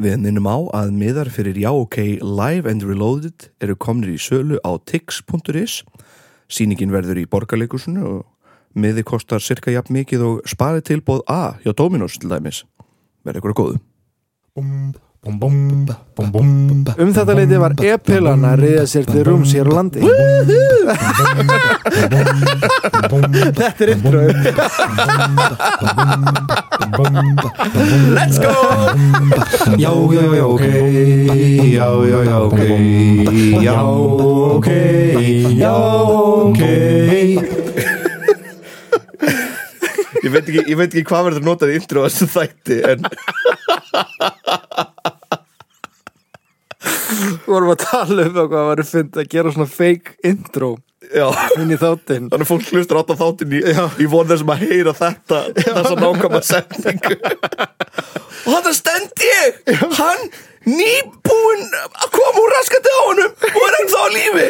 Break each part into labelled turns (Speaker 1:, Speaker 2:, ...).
Speaker 1: Við minnum á að miðar fyrir Já OK Live and Reloaded eru komnir í sölu á tix.is. Sýningin verður í borgarleikusinu og miði kostar cirka jafn mikið og sparið tilbóð A hjá Dominos til dæmis. Verður ykkur að góðu.
Speaker 2: Um þetta leiti var e-pillan að reyða sér til rúms hér á landi Þetta er introið
Speaker 3: Let's go
Speaker 1: Já, já, já, ok, já, já, já, ok, já, ok, já, ok. Ég veit ekki, ég veit ekki hvað verður notað í intro þessu þætti, en
Speaker 2: Við vorum að tala um eitthvað að varum fyndið að gera svona fake intro
Speaker 1: já.
Speaker 2: inn í þáttinn
Speaker 1: Þannig að fólk hlustur átt á þáttin í, í von þessum að heyra þetta þessa nákvæma setningu Og þetta stend ég Hann nýbúinn að koma úr raskandi á honum og er ennþá á lífi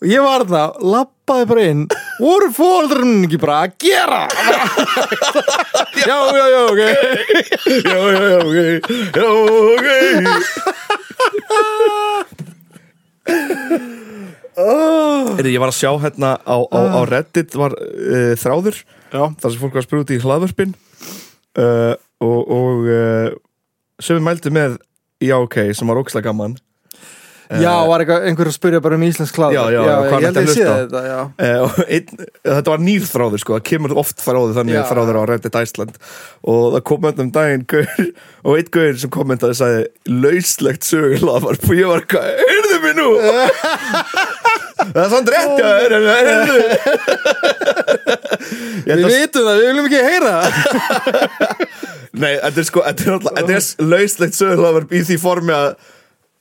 Speaker 2: Og ég var það, lappaði bara inn voru fóldrunni ekki bara að gera Já, já, já, ok
Speaker 1: Já, já, já, ok Já, ok Ég var að sjá hérna á, á, á Reddit var uh, þráður
Speaker 2: Já,
Speaker 1: þar sem fólk var að spyrja út í hlaðvörpin uh, og, og uh, sem við mældu með já ok, sem var óksla gaman
Speaker 2: já var eitthvað, einhver að spyrja bara um íslensk hlaður
Speaker 1: Já, já, hvað er
Speaker 2: ég held
Speaker 1: þetta að
Speaker 2: að ég sé
Speaker 1: hlusta á?
Speaker 2: þetta, já
Speaker 1: uh, og einn, þetta var nýr þráður sko, það kemur oft þráður þannig
Speaker 2: Já.
Speaker 1: þráður á Reddit Iceland og það kom öndum daginn gaur, og einn gaur sem kommentaði sagði lauslegt sögur hlaðvarp og ég var hvað, heyrðu mig nú það er svona rétt já, heyrðu, heyrðu Ég held
Speaker 2: Við
Speaker 1: að-
Speaker 2: vitum það, við viljum ekki heyra það
Speaker 1: Nei, þetta er sko, þetta er alltaf, þetta er lauslegt sögurhlaðvarp í því formi að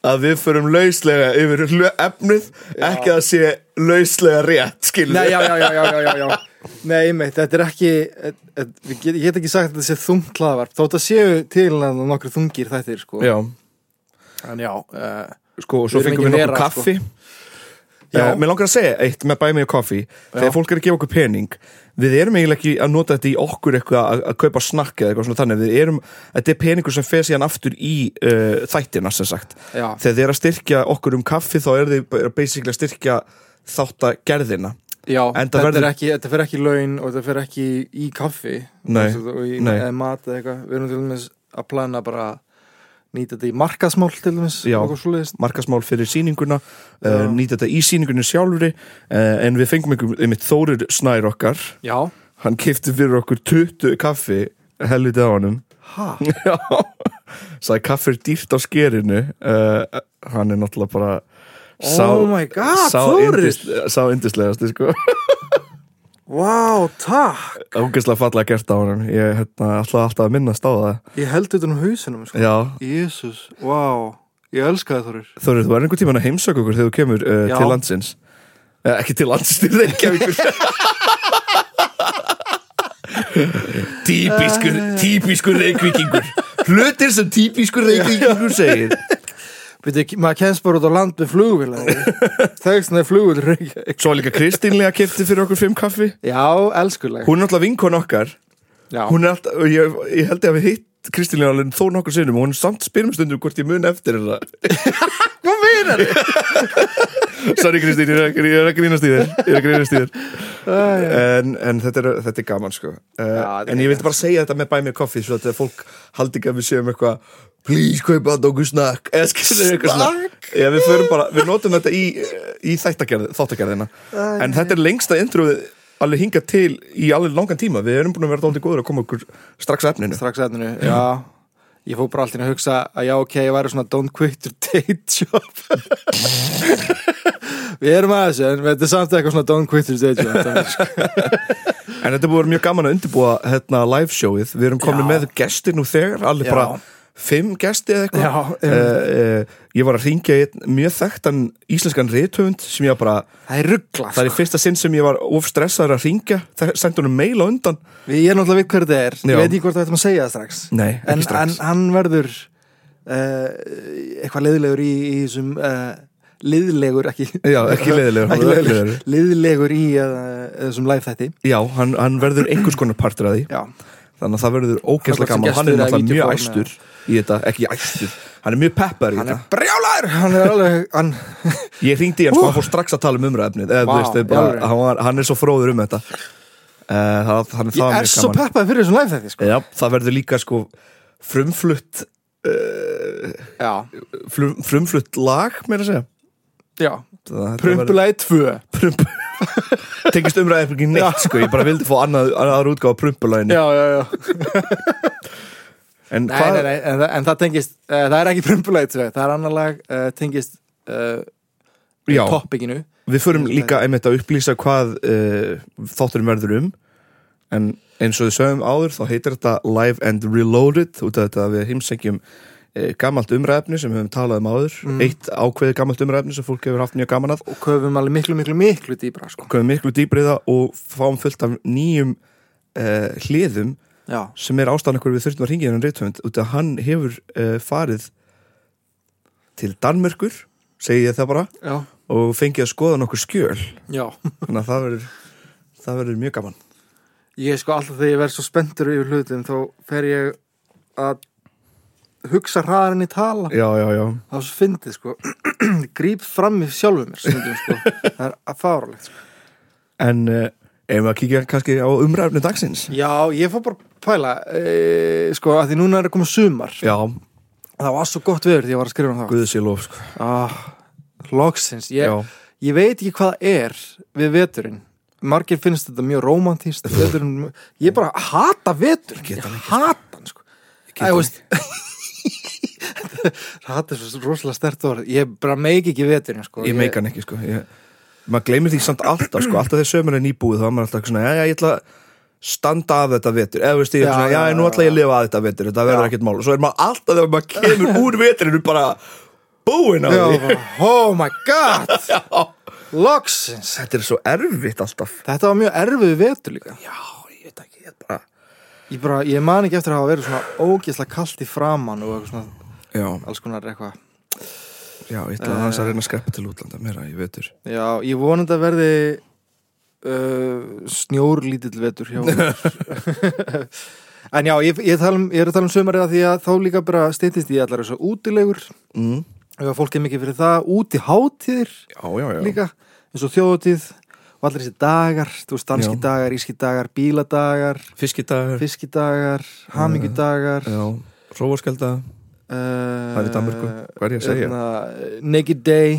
Speaker 1: að við förum lauslega yfir hlö- efnið, ekki að sé lauslega rétt, skilur
Speaker 2: Nei, já, já, já, já, já, já, já. Nei, meitt, þetta er ekki et, et, við get, Ég get ekki sagt að þetta sé þungt hlaðvarp Þótt að séu til að nokkru þungir þættir sko.
Speaker 1: Já,
Speaker 2: En já, uh,
Speaker 1: sko, og svo
Speaker 2: Við erum
Speaker 1: fengum við
Speaker 2: ekki
Speaker 1: nokkuð
Speaker 2: vera,
Speaker 1: kaffi Já,
Speaker 2: Já.
Speaker 1: mér langar að segja eitt með bæmi og kaffi Þegar fólk er að gefa okkur pening Við erum eiginlega ekki að nota þetta í okkur eitthvað að, að kaupa snakka eða eitthvað svona þannig Við erum, þetta er peningur sem fer síðan aftur í uh, þættina sem sagt
Speaker 2: já,
Speaker 1: Þegar þið er að styrkja okkur um kaffi þá er þið bara basically að styrkja þáttagerðina
Speaker 2: já
Speaker 1: En það
Speaker 2: þetta,
Speaker 1: verður-
Speaker 2: verður... ekki, þetta fer ekki í laun og þetta fer ekki í kaffi
Speaker 1: Nei,
Speaker 2: eins og það- og í,
Speaker 1: nei.
Speaker 2: eða mat eða eitthvað Við erum til dæmis að plana bara að nýta þetta í markasmál til dæmis
Speaker 1: Já.
Speaker 2: og eitthvað svoleiðis.
Speaker 1: markasmál fyrir sýninguna uh, nýta þetta í sýningunni sjálfri uh, en við fengum ykkur, einmitt Þórir Snær okkar
Speaker 2: Já,
Speaker 1: hann kifti fyrir okkur 20 kaffi helviti á honum
Speaker 2: ha,
Speaker 1: já sagði kaffi er dýrt á skerinu uh, hann er náttúrulega bara
Speaker 2: Oh my God,
Speaker 1: sá
Speaker 2: Þórir!
Speaker 1: yndis- sá yndislegasti sko
Speaker 2: vá, takk
Speaker 1: ógeðslega fallega gert á honum ég hérna, ætla alltaf að minnast á það
Speaker 2: Ég held þetta um hausinum sko.
Speaker 1: já
Speaker 2: Jésus, vá, ég elska það Þorir
Speaker 1: Þórið, þú er einhvern tímann að heimsöka okkur þegar þú kemur uh,
Speaker 2: Já.
Speaker 1: til landsins eh, ekki til landsins, til Reykjavíkur Típiskur, típiskur Reykvíkingur Hlutir sem típiskur Reykvíkingur segir
Speaker 2: Byrju, maður kemst bara út á land með flugvila Þegsna er flugvil Reykjavík
Speaker 1: Svo var líka Kristínlega kefti fyrir okkur fimm kaffi
Speaker 2: Já, elskuleg
Speaker 1: Hún er alltaf vinkon okkar
Speaker 2: Já,
Speaker 1: Hún er alltaf, og ég, ég held ég að við hitt Kristínlega alveg þó nokkur sinnum og hún samt spyrum stundum hvort ég mun eftir það
Speaker 2: hvað meinar
Speaker 1: Sorry Kristín, ég er að- ég er að grínast í þér Ég er að grínast í þér En, en þetta, er, þetta er gaman sko uh,
Speaker 2: þetta er
Speaker 1: En ég vildi bara segja þetta með Buy Me Coffee Svo að fólk haldi ekki að við séum eitthvað Please, kaupa þetta okkur snakk Eða skilur eitthvað snakk Já, við, förum bara, við notum þetta í, í þættagerð, þáttagerðina En þetta er lengsta introið Alveg hinga til í alveg langan tíma Við erum búin að vera dálítið góður að koma okkur strax að efninu
Speaker 2: Strax efninu, já Ég fór bara alltaf að hugsa að já, ok, ég væri svona don't quit your day job Við erum að þessu, en þetta er samt eitthvað svona don't quit your day job þannig, sko.
Speaker 1: En þetta búið mjög gaman að undirbúa hérna, live showið, við erum komin
Speaker 2: Já.
Speaker 1: með gesti nú þegar, allir
Speaker 2: Já.
Speaker 1: bara fimm gesti eða
Speaker 2: Já, um-
Speaker 1: eitthvað
Speaker 2: einmitt.
Speaker 1: uh, Ég var að ringja einn mjög þekktan íslenskan rithöfund sem ég var bara,
Speaker 2: Það er sko. ruggla,
Speaker 1: það er í fyrsta sinn sem ég var of stressaður að ringja, það sendi honum mail á undan
Speaker 2: Ég er náttúrulega við hver þetta er,
Speaker 1: Já.
Speaker 2: ég veit ekki hvort það ættum að segja það strax
Speaker 1: Nei, ekki
Speaker 2: en,
Speaker 1: strax.
Speaker 2: En hann verður uh, eitthvað leiðilegur í, í þessum uh, liðlegur, ekki
Speaker 1: Já, ekki leiðilegur, hann
Speaker 2: Ekki
Speaker 1: verður
Speaker 2: leiðilegur.
Speaker 1: leiðilegur.
Speaker 2: Liðlegur í uh, þessum live þætti
Speaker 1: Já, hann, hann verður einhvers konar partur að því
Speaker 2: Já,
Speaker 1: þannig að það verður
Speaker 2: hvort
Speaker 1: ógeðslega
Speaker 2: sem
Speaker 1: gaman hann
Speaker 2: gestur
Speaker 1: er
Speaker 2: eða
Speaker 1: náttúrulega mjög
Speaker 2: vídeóform
Speaker 1: æstur í þetta, ekki æstur, hann er mjög peppar í
Speaker 2: Hann
Speaker 1: þetta
Speaker 2: er brjálar Hann er alveg hann,
Speaker 1: ég hringdi í hann sko, hann fór strax að tala um umræðefnið eða,
Speaker 2: Vá,
Speaker 1: wow, veist, eða bara,
Speaker 2: í alvöru?
Speaker 1: hann, var, hann er svo fróður um þetta uh, það, þannig það
Speaker 2: Ég
Speaker 1: var
Speaker 2: er
Speaker 1: mjög
Speaker 2: svo
Speaker 1: gaman
Speaker 2: peppaði fyrir þessum live þetta sko.
Speaker 1: Já, það verður líka sko frumflutt uh,
Speaker 2: Já,
Speaker 1: frum, frumflutt lag, meira að segja
Speaker 2: já
Speaker 1: Það- þetta verður-
Speaker 2: Prumpulagi 2
Speaker 1: Prump Tekist umræðið ekki neitt sko Ég bara vildi fá annað, annaðar útgáfa af prumpulæginu
Speaker 2: Já, já, já
Speaker 1: En
Speaker 2: Nei,
Speaker 1: hvað
Speaker 2: nei, nei, en, það- en það tengist, uh, það er ekki prumpulæg það er annar lag, uh, tengist uh,
Speaker 1: Já.
Speaker 2: toppikinu
Speaker 1: Við förum líka einmitt að upplýsa hvað uh, þátturum verður um en eins og við sögum áður þá heitir þetta Live and Reloaded út af þetta að við heimsengjum uh, gamalt umræfni sem við höfum talað um áður
Speaker 2: Mm.
Speaker 1: eitt ákveðið gamalt umræfni sem fólk hefur haft mjög gaman að
Speaker 2: og köfum alveg miklu, miklu, miklu dýbra sko.
Speaker 1: komum miklu dýbrið það og fáum fullt af nýjum uh, hliðum
Speaker 2: Já,
Speaker 1: sem er ástæðan okkur við þurftum að ringja hennan reythöfund út af hann hefur uh, farið til Danmörkur segi ég það bara
Speaker 2: já,
Speaker 1: og fengið að skoða nokkur skjöl
Speaker 2: já
Speaker 1: þannig að það verður það verður mjög gaman
Speaker 2: Ég sko alltaf þegar ég verð svo spenntur yfir hlutum þá fer ég að hugsa hraðar en ég tala
Speaker 1: já, já, já,
Speaker 2: þá svo fyndið sko gríp fram í sjálfu mér stundum, sko. það er að fáralegt sko.
Speaker 1: en uh, ef við að kíkja kannski á umræfni dagsins
Speaker 2: Já, ég fór bara að pæla e, sko, að því núna er að koma sumar
Speaker 1: já,
Speaker 2: það var svo gott veður því ég var að skrifa um það
Speaker 1: guðsílof sko.
Speaker 2: ah, Loksins, ég,
Speaker 1: já,
Speaker 2: ég veit ekki hvað það er við veturinn margir finnst þetta mjög romantíst veturinn, ég bara hata veturinn
Speaker 1: Ég get
Speaker 2: ég
Speaker 1: hann ekki,
Speaker 2: hata hann sko
Speaker 1: get
Speaker 2: Æ,
Speaker 1: hann
Speaker 2: veist- hata er svo rosalega stert orð ég bara meik ekki veturinn sko
Speaker 1: ég meika hann ekki sko. ég, maður gleymir því samt alltaf sko. alltaf þegar sömur er nýbúið þá er maður alltaf svona, já, já, ég ætla að standa af þetta vetur eða veist ég,
Speaker 2: Já,
Speaker 1: já, svona, já,
Speaker 2: já,
Speaker 1: já, nú
Speaker 2: já,
Speaker 1: ætla ég að lifa að þetta vetur þetta verður
Speaker 2: Já.
Speaker 1: ekkert mál, svo er maður alltaf þegar maður kemur úr veturinu bara búin á
Speaker 2: Já,
Speaker 1: því
Speaker 2: bara, oh my god loksins
Speaker 1: þetta er svo erfitt alltaf
Speaker 2: þetta var mjög erfið vetur líka
Speaker 1: já, ég veit ekki, ég bara
Speaker 2: ég, bara, ég man ekki eftir að hafa verið svona ógeðslega kalt í framann og eitthvað svona,
Speaker 1: já,
Speaker 2: alls konar eitthvað
Speaker 1: já, ég ætla að hans að reyna að skreppa til útlanda meira, ég vetur
Speaker 2: Já, ég vonandi að verði uh, snjórlítill vetur hjá okkur. En já, ég, ég, tala um, ég er að tala um sömarið að því að þá líka bara steytist í allar þessu útilegur
Speaker 1: mm.
Speaker 2: og að fólk er mikið fyrir það, úti hátíðir
Speaker 1: já, já, já,
Speaker 2: líka, eins og þjóðutíð og allir þessi dagar, þú veist, danski
Speaker 1: Já.
Speaker 2: dagar, íski dagar, bíladagar
Speaker 1: fiskidagur
Speaker 2: fiskidagar, hamingudagar
Speaker 1: já, róarskelda
Speaker 2: Það
Speaker 1: er í Danmörku. Hvað er ég að segja?
Speaker 2: uh, hérna, Naked day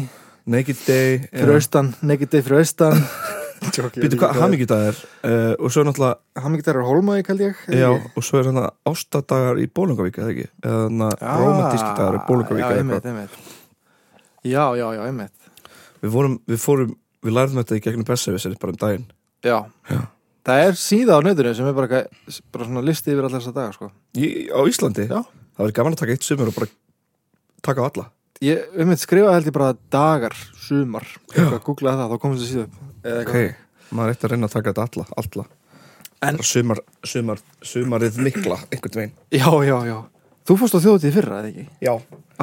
Speaker 1: naked day
Speaker 2: fyrir
Speaker 1: já.
Speaker 2: austan, naked day fyrir austan
Speaker 1: Býtu hvað, hamingjudagur uh, og svo náttúrulega
Speaker 2: Hamingdagur á Hólmavík held ég
Speaker 1: Já, og svo er hann að ástadagar í Bólungavík, eða ekki? Eða hann að romantíski dagar í Bólungavík eða
Speaker 2: Ah, Já, einmitt,
Speaker 1: eitthvað.
Speaker 2: einmitt Já, já, já, einmitt
Speaker 1: Við vorum, við fórum, við lærðum þetta í gegnum Bessevisir bara um daginn.
Speaker 2: Já, það er síða á nöðunum sem er bara, eitthvað- bara svona listi yfir allar þessa daga sko.
Speaker 1: Í, á Íslandi?
Speaker 2: Já.
Speaker 1: Það verður gaman að taka eitt sumur og bara taka á alla.
Speaker 2: Ég, einmitt skrifaði held ég bara dagar, sumar eitthvað, googlaði það, þá komum þessi síðu upp Eða
Speaker 1: Ok.
Speaker 2: eitthvað.
Speaker 1: Maður ætti að reyna að taka þetta alla, alla.
Speaker 2: En-
Speaker 1: Bara Sumar, sumar, sumarið mikla, einhvern veginn.
Speaker 2: Já, já, já Þú fórst á þjóðutíð fyrra, eða ekki?
Speaker 1: Já.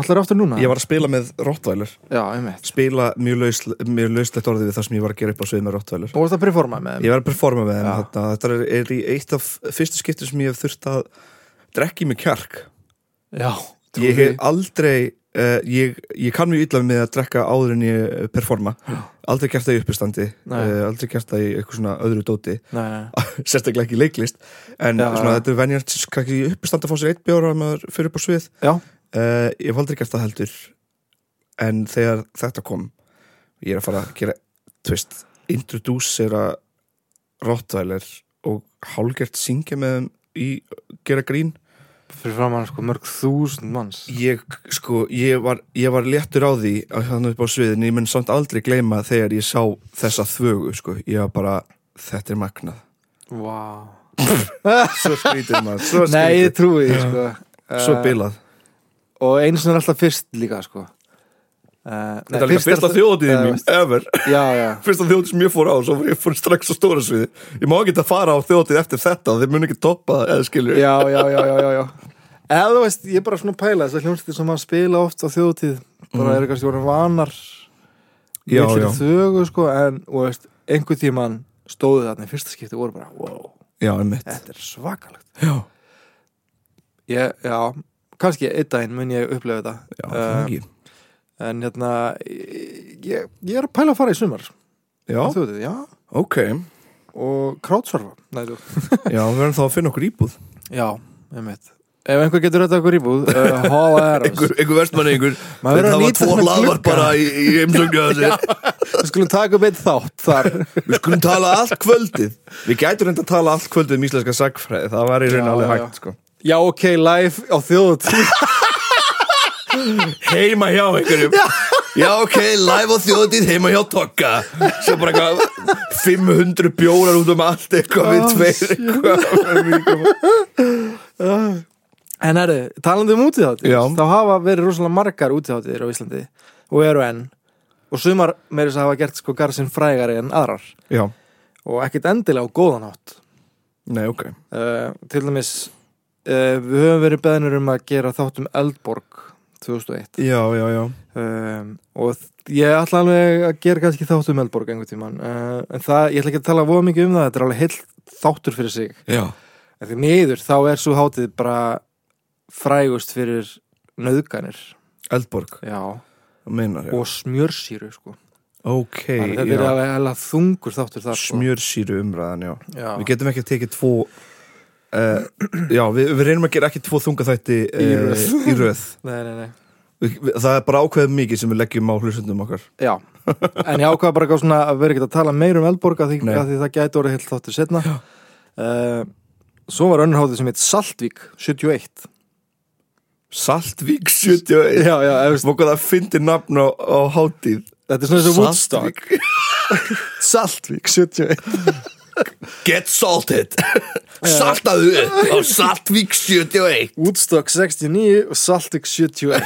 Speaker 2: Allar aftur núna?
Speaker 1: Ég var að spila með Rottweiler.
Speaker 2: Já, einmitt
Speaker 1: Spila mjög, lausl, mjög lauslegt orðið við það sem ég var að gera upp á svið með Rottweiler.
Speaker 2: Og varst að performa með þeim?
Speaker 1: Ég var að performa með
Speaker 2: Já.
Speaker 1: henn þetta. Þetta er, er í eitt af fyrstu skiptir sem ég hef þurft að drekki mig kjark.
Speaker 2: Já, trúi
Speaker 1: ég hef
Speaker 2: því.
Speaker 1: aldrei uh, ég, ég kann mjög illa með að drekka áður en ég eh, performa aldrei gert það í uppistandi
Speaker 2: Nei.
Speaker 1: uh, aldrei gert það í eitthvað svona öðru dóti
Speaker 2: Nei, nei,
Speaker 1: sérstaklega ekki í leiklist en
Speaker 2: Já,
Speaker 1: svona,
Speaker 2: já.
Speaker 1: þetta er venjart kannski í uppistandi að fá sér eitt bjóra að maður fyrir upp á svið
Speaker 2: Já.
Speaker 1: uh, ég hef aldrei gert það heldur en þegar þetta kom ég er að fara að gera tvist, introducera rottvæler og hálgert syngja með þeim í gera grín
Speaker 2: fyrir framann sko mörg þúsund manns
Speaker 1: ég, sko, ég var, ég var léttur á því að þannig upp á sviðinu, ég mun samt aldrei gleyma þegar ég sá þessa þvögu, sko, ég var bara þetta er magnað,
Speaker 2: Vá wow.
Speaker 1: svo skrítið maður svo
Speaker 2: Nei, ég
Speaker 1: skrítið,
Speaker 2: trúi því, sko
Speaker 1: svo
Speaker 2: Eh,
Speaker 1: bilað
Speaker 2: Og einu sinni er alltaf fyrst líka, sko Uh, nei,
Speaker 1: Eh, þetta er líka fyrsta þjóðatíðin mín, ever
Speaker 2: Já, já,
Speaker 1: fyrsta þjóðatíð sem ég fór á, svo fór ég fór strax á stóra sviði, ég má ekki að fara á þjóðatíð eftir þetta, þeir mun ekki toppa það, eða skilur
Speaker 2: já, já, já, já, já, já. Eða þú veist, ég er bara svona að pæla þess að hljómsveitir sem maður spila oft á þjóðtíð bara er kannski voru vanar
Speaker 1: Mhm. Já,
Speaker 2: miklir
Speaker 1: já.
Speaker 2: þögu, sko en, og veist, einhver tíman stóðu þarna í fyrsta skipti og voru bara, wow
Speaker 1: já, einmitt
Speaker 2: Þetta er svakalegt
Speaker 1: já,
Speaker 2: ég, Já, kannski einn daginn mun ég upplefa þetta
Speaker 1: já,
Speaker 2: Eh,
Speaker 1: það ekki
Speaker 2: En hérna ég, ég er að pæla að fara í sumar
Speaker 1: já,
Speaker 2: Þú veit, já
Speaker 1: ok, já,
Speaker 2: Og krátsvarfa Nei, þú
Speaker 1: við verðum þá að finna okkur íbúð
Speaker 2: Já, ég veit Ef einhver getur þetta okkur íbúð uh, Háa er oss
Speaker 1: einhver, einhver vestmanni, einhver
Speaker 2: Maður verður að
Speaker 1: það var
Speaker 2: nýta
Speaker 1: tvo
Speaker 2: þennan
Speaker 1: laðar
Speaker 2: glugga.
Speaker 1: bara í, í umsögnu að þessi
Speaker 2: Við skulum taka upp eitt þátt þar
Speaker 1: við skulum tala allt kvöldið við gætum reynda að tala allt kvöldið um íslenska sagfræði það var í raun
Speaker 2: Já,
Speaker 1: alveg
Speaker 2: já.
Speaker 1: hægt sko.
Speaker 2: Já, ok, live á þjóðutíð
Speaker 1: heima hjá einhverjum já. ok, live á þjóðtíð heima hjá Tokka Svo bara eitthvað 500 bjórar út um allt eitthvað við
Speaker 2: Oh,
Speaker 1: tveir eitthvað mikrofón.
Speaker 2: En erðu, talandi um útíðháttið
Speaker 1: Já.
Speaker 2: Þá hafa verið rosalega margar útíðháttiðir á Íslandi Og eru enn Og sumar meiri sem hafa gert sko garðsinn frægari en aðrar
Speaker 1: Já,
Speaker 2: Og ekkit endilega á góðan hátt
Speaker 1: nei ok
Speaker 2: uh, Til dæmis uh, Við höfum verið beðnir um að gera þátt um Eldborg 2001
Speaker 1: Já, já, já
Speaker 2: um, og þ- ég ætla alveg að gera kannski þátt um Eldborg einhvern tímann uh, en það, ég ætla ekki að tala voða mikið um það þetta er alveg heill þáttur fyrir sig
Speaker 1: Já,
Speaker 2: en því miður þá er svo hátið bara frægust fyrir nöðganir
Speaker 1: Eldborg,
Speaker 2: já,
Speaker 1: meinar ég
Speaker 2: og smjörsýru sko.
Speaker 1: Ok,
Speaker 2: hey, þetta er
Speaker 1: já.
Speaker 2: alveg, alveg þungur þáttur þar sko.
Speaker 1: smjörsýru umræðan, já
Speaker 2: já.
Speaker 1: Við getum ekki að tekið tvo Uh, já, við, við reynum að gera ekki tvo þunga þætti eh,
Speaker 2: Í röð.
Speaker 1: í röð.
Speaker 2: Nei, nei, nei.
Speaker 1: Við, við, það er bara ákveðið mikið sem við leggjum á hlustundum okkar
Speaker 2: já en ég ákvaða bara eitthvað svona að vera ekkert að tala meir um Eldborg að því,
Speaker 1: Nei.
Speaker 2: að því það gæti orðið heill þáttur setna uh, svo var önnur hátið sem heit Saltvík 71
Speaker 1: Saltvík 71
Speaker 2: já, já, ef,
Speaker 1: Vá hvað það fyndir nafn á, á hátíð
Speaker 2: Þetta er svona eins og Woodstock
Speaker 1: Saltvík
Speaker 2: Saltvík 71
Speaker 1: Get salted Saltaðu upp á Saltvík 71
Speaker 2: Woodstock 69 og Saltvík 71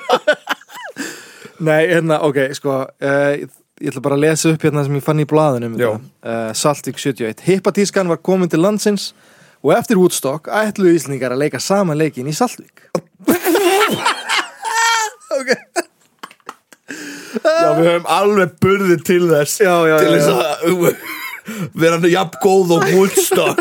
Speaker 2: Nei, hérna, ok, sko uh, ég, ég ætla bara að lesa upp hérna sem ég fann í blaðinu um
Speaker 1: Já.
Speaker 2: þetta. uh, Saltvík 71 Hippatískan var komin til landsins og eftir Woodstock ætluðu Íslendingar að leika saman leikin í Saltvík
Speaker 1: Já, við höfum alveg burði til þess
Speaker 2: Já, já,
Speaker 1: Til
Speaker 2: já,
Speaker 1: þess
Speaker 2: já.
Speaker 1: að uh, vera hann jafn góð og Woodstock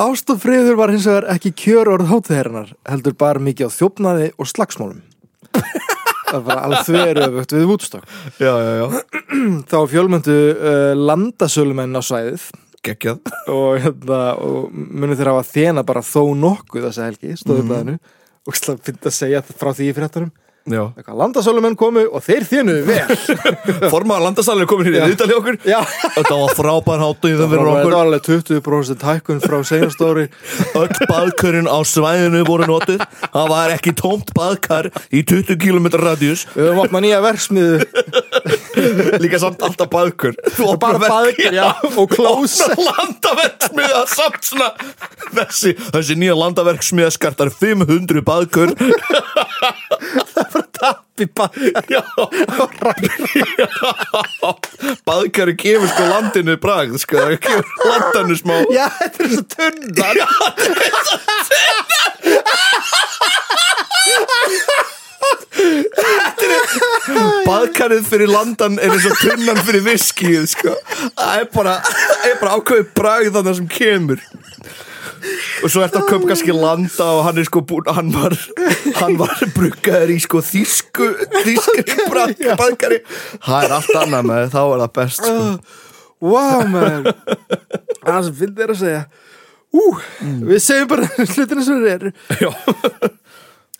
Speaker 2: Ástofriður var hins vegar ekki kjörorð hátíðherrinar heldur bara mikið á þjófnaði og slagsmálum Það var alveg þveröfugt við Woodstock
Speaker 1: Já, já, já
Speaker 2: þá fjölmöndu uh, landasölumenn á svæðið
Speaker 1: Gekkjað
Speaker 2: og, hérna, og munið þeir hafa þjena bara þó nokkuð þessa helgi, stóðu blæðinu og slá finn að segja þetta frá því í fréttunum
Speaker 1: Já
Speaker 2: Eitthvað, landasölumenn komu og þeir þjenuðu vel
Speaker 1: Formaður landasalinn er komin hér í
Speaker 2: Já.
Speaker 1: viðtalið okkur
Speaker 2: Já.
Speaker 1: Þetta var frábær hátíð
Speaker 2: þetta
Speaker 1: fyrir
Speaker 2: var
Speaker 1: okkur
Speaker 2: alveg 20% hækkun frá senastóri
Speaker 1: Öll baðkörinn á svæðinu voru notið Það var ekki tómt baðkar í 20 km radius
Speaker 2: við höfum opnað nýja verksmiðu
Speaker 1: Líka samt alltaf baðkur Þú
Speaker 2: og bara
Speaker 1: opnar verkið.
Speaker 2: baðkir já, og klósa
Speaker 1: landaverksmiða samt svona þessi, þessi nýja landaverksmiða skartar 500 baðkur
Speaker 2: í baðkar
Speaker 1: já baðkari gefur sko landinu bragð sko, það gefur landinu smá
Speaker 2: já, þetta er svo tunnar
Speaker 1: Já, Baðkarið fyrir landan er eins og tunnan fyrir viskið sko. Það er bara, er bara ákveðið bragð þannig sem kemur Og svo ertu að köpa kannski landa og hann er sko búin, hann var, hann var bruggaður í sko þýsku, þýsku baðkari Það er allt annað með þá er það best sko.
Speaker 2: wow man það sem finn þeir að segja Ú, við segjum bara hlutina sem þeir eru
Speaker 1: Já,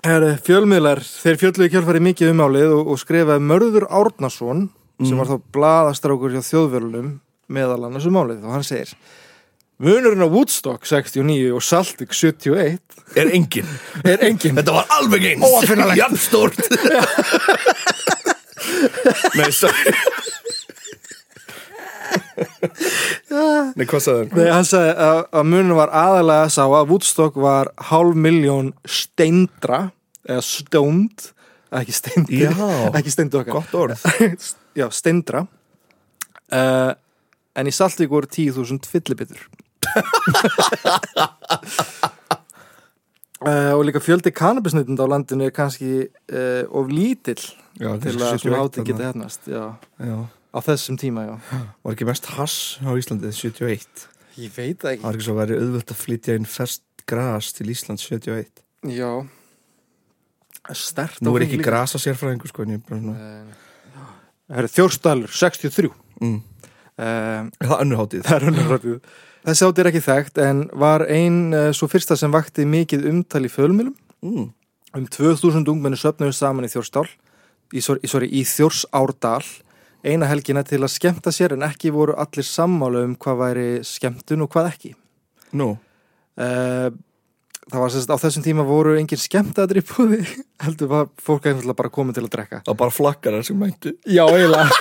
Speaker 2: Herri, fjölmiðlar, þeir fjölluðu kjálfari mikið um málið og, og skrifaði Mörður Árnason sem var þá blaðastrákur hjá þjóðvörlunum meðal annars um málið og hann segir Munurinn á Woodstock 69 og Saltik 71
Speaker 1: er engin
Speaker 2: er engin
Speaker 1: Þetta var alveg eins
Speaker 2: Óaðfinnanlegt.
Speaker 1: Jafnstórt Nei, sorry Nei, hvað sagði hann?
Speaker 2: Nei, hann sagði að, að munurinn var aðalega sá að Woodstock var hálf miljón steindra eða stónd ekki steindi,
Speaker 1: Já.
Speaker 2: ekki steindi okkar
Speaker 1: Gott orð
Speaker 2: já, steindra uh, en í Saltvík voru 10.000 fyllibitur uh, og líka fjöldi kannabisnýtund á landinu er kannski uh, of lítill
Speaker 1: Já,
Speaker 2: til að svona áti geta hefnast já.
Speaker 1: Já,
Speaker 2: á þessum tíma, já.
Speaker 1: Var ekki mest hass á Íslandið 71
Speaker 2: Ég veit það
Speaker 1: Það var ekki svo að vera auðvöld að flytja inn fest gras til Ísland 71
Speaker 2: Já. Stert
Speaker 1: Nú er ekki grasa sérfræðingur sko en ég er bara svona-
Speaker 2: Það eru Þjórsdalur, 63.
Speaker 1: mm.
Speaker 2: Um,
Speaker 1: Er Það er önnur hátíð
Speaker 2: það er hann röfjuð. Þessi átt er ekki þekkt en var ein uh, svo fyrsta sem vakti mikið umtal í fjölmjölum.
Speaker 1: mm.
Speaker 2: Um 2000 ungmenni söpnuðu saman í Þjórsdal, í, sorry, sorry, í Þjórsárdal, eina helgina til að skemmta sér en ekki voru allir sammála um hvað væri skemmtun og hvað ekki.
Speaker 1: Nú,
Speaker 2: Eh, það var sérst á þessum tíma voru engin skemmtadri í búði heldur var fólk einfallega bara komið til að drekka
Speaker 1: það er bara flakkarar sem mæntu
Speaker 2: já eiginlega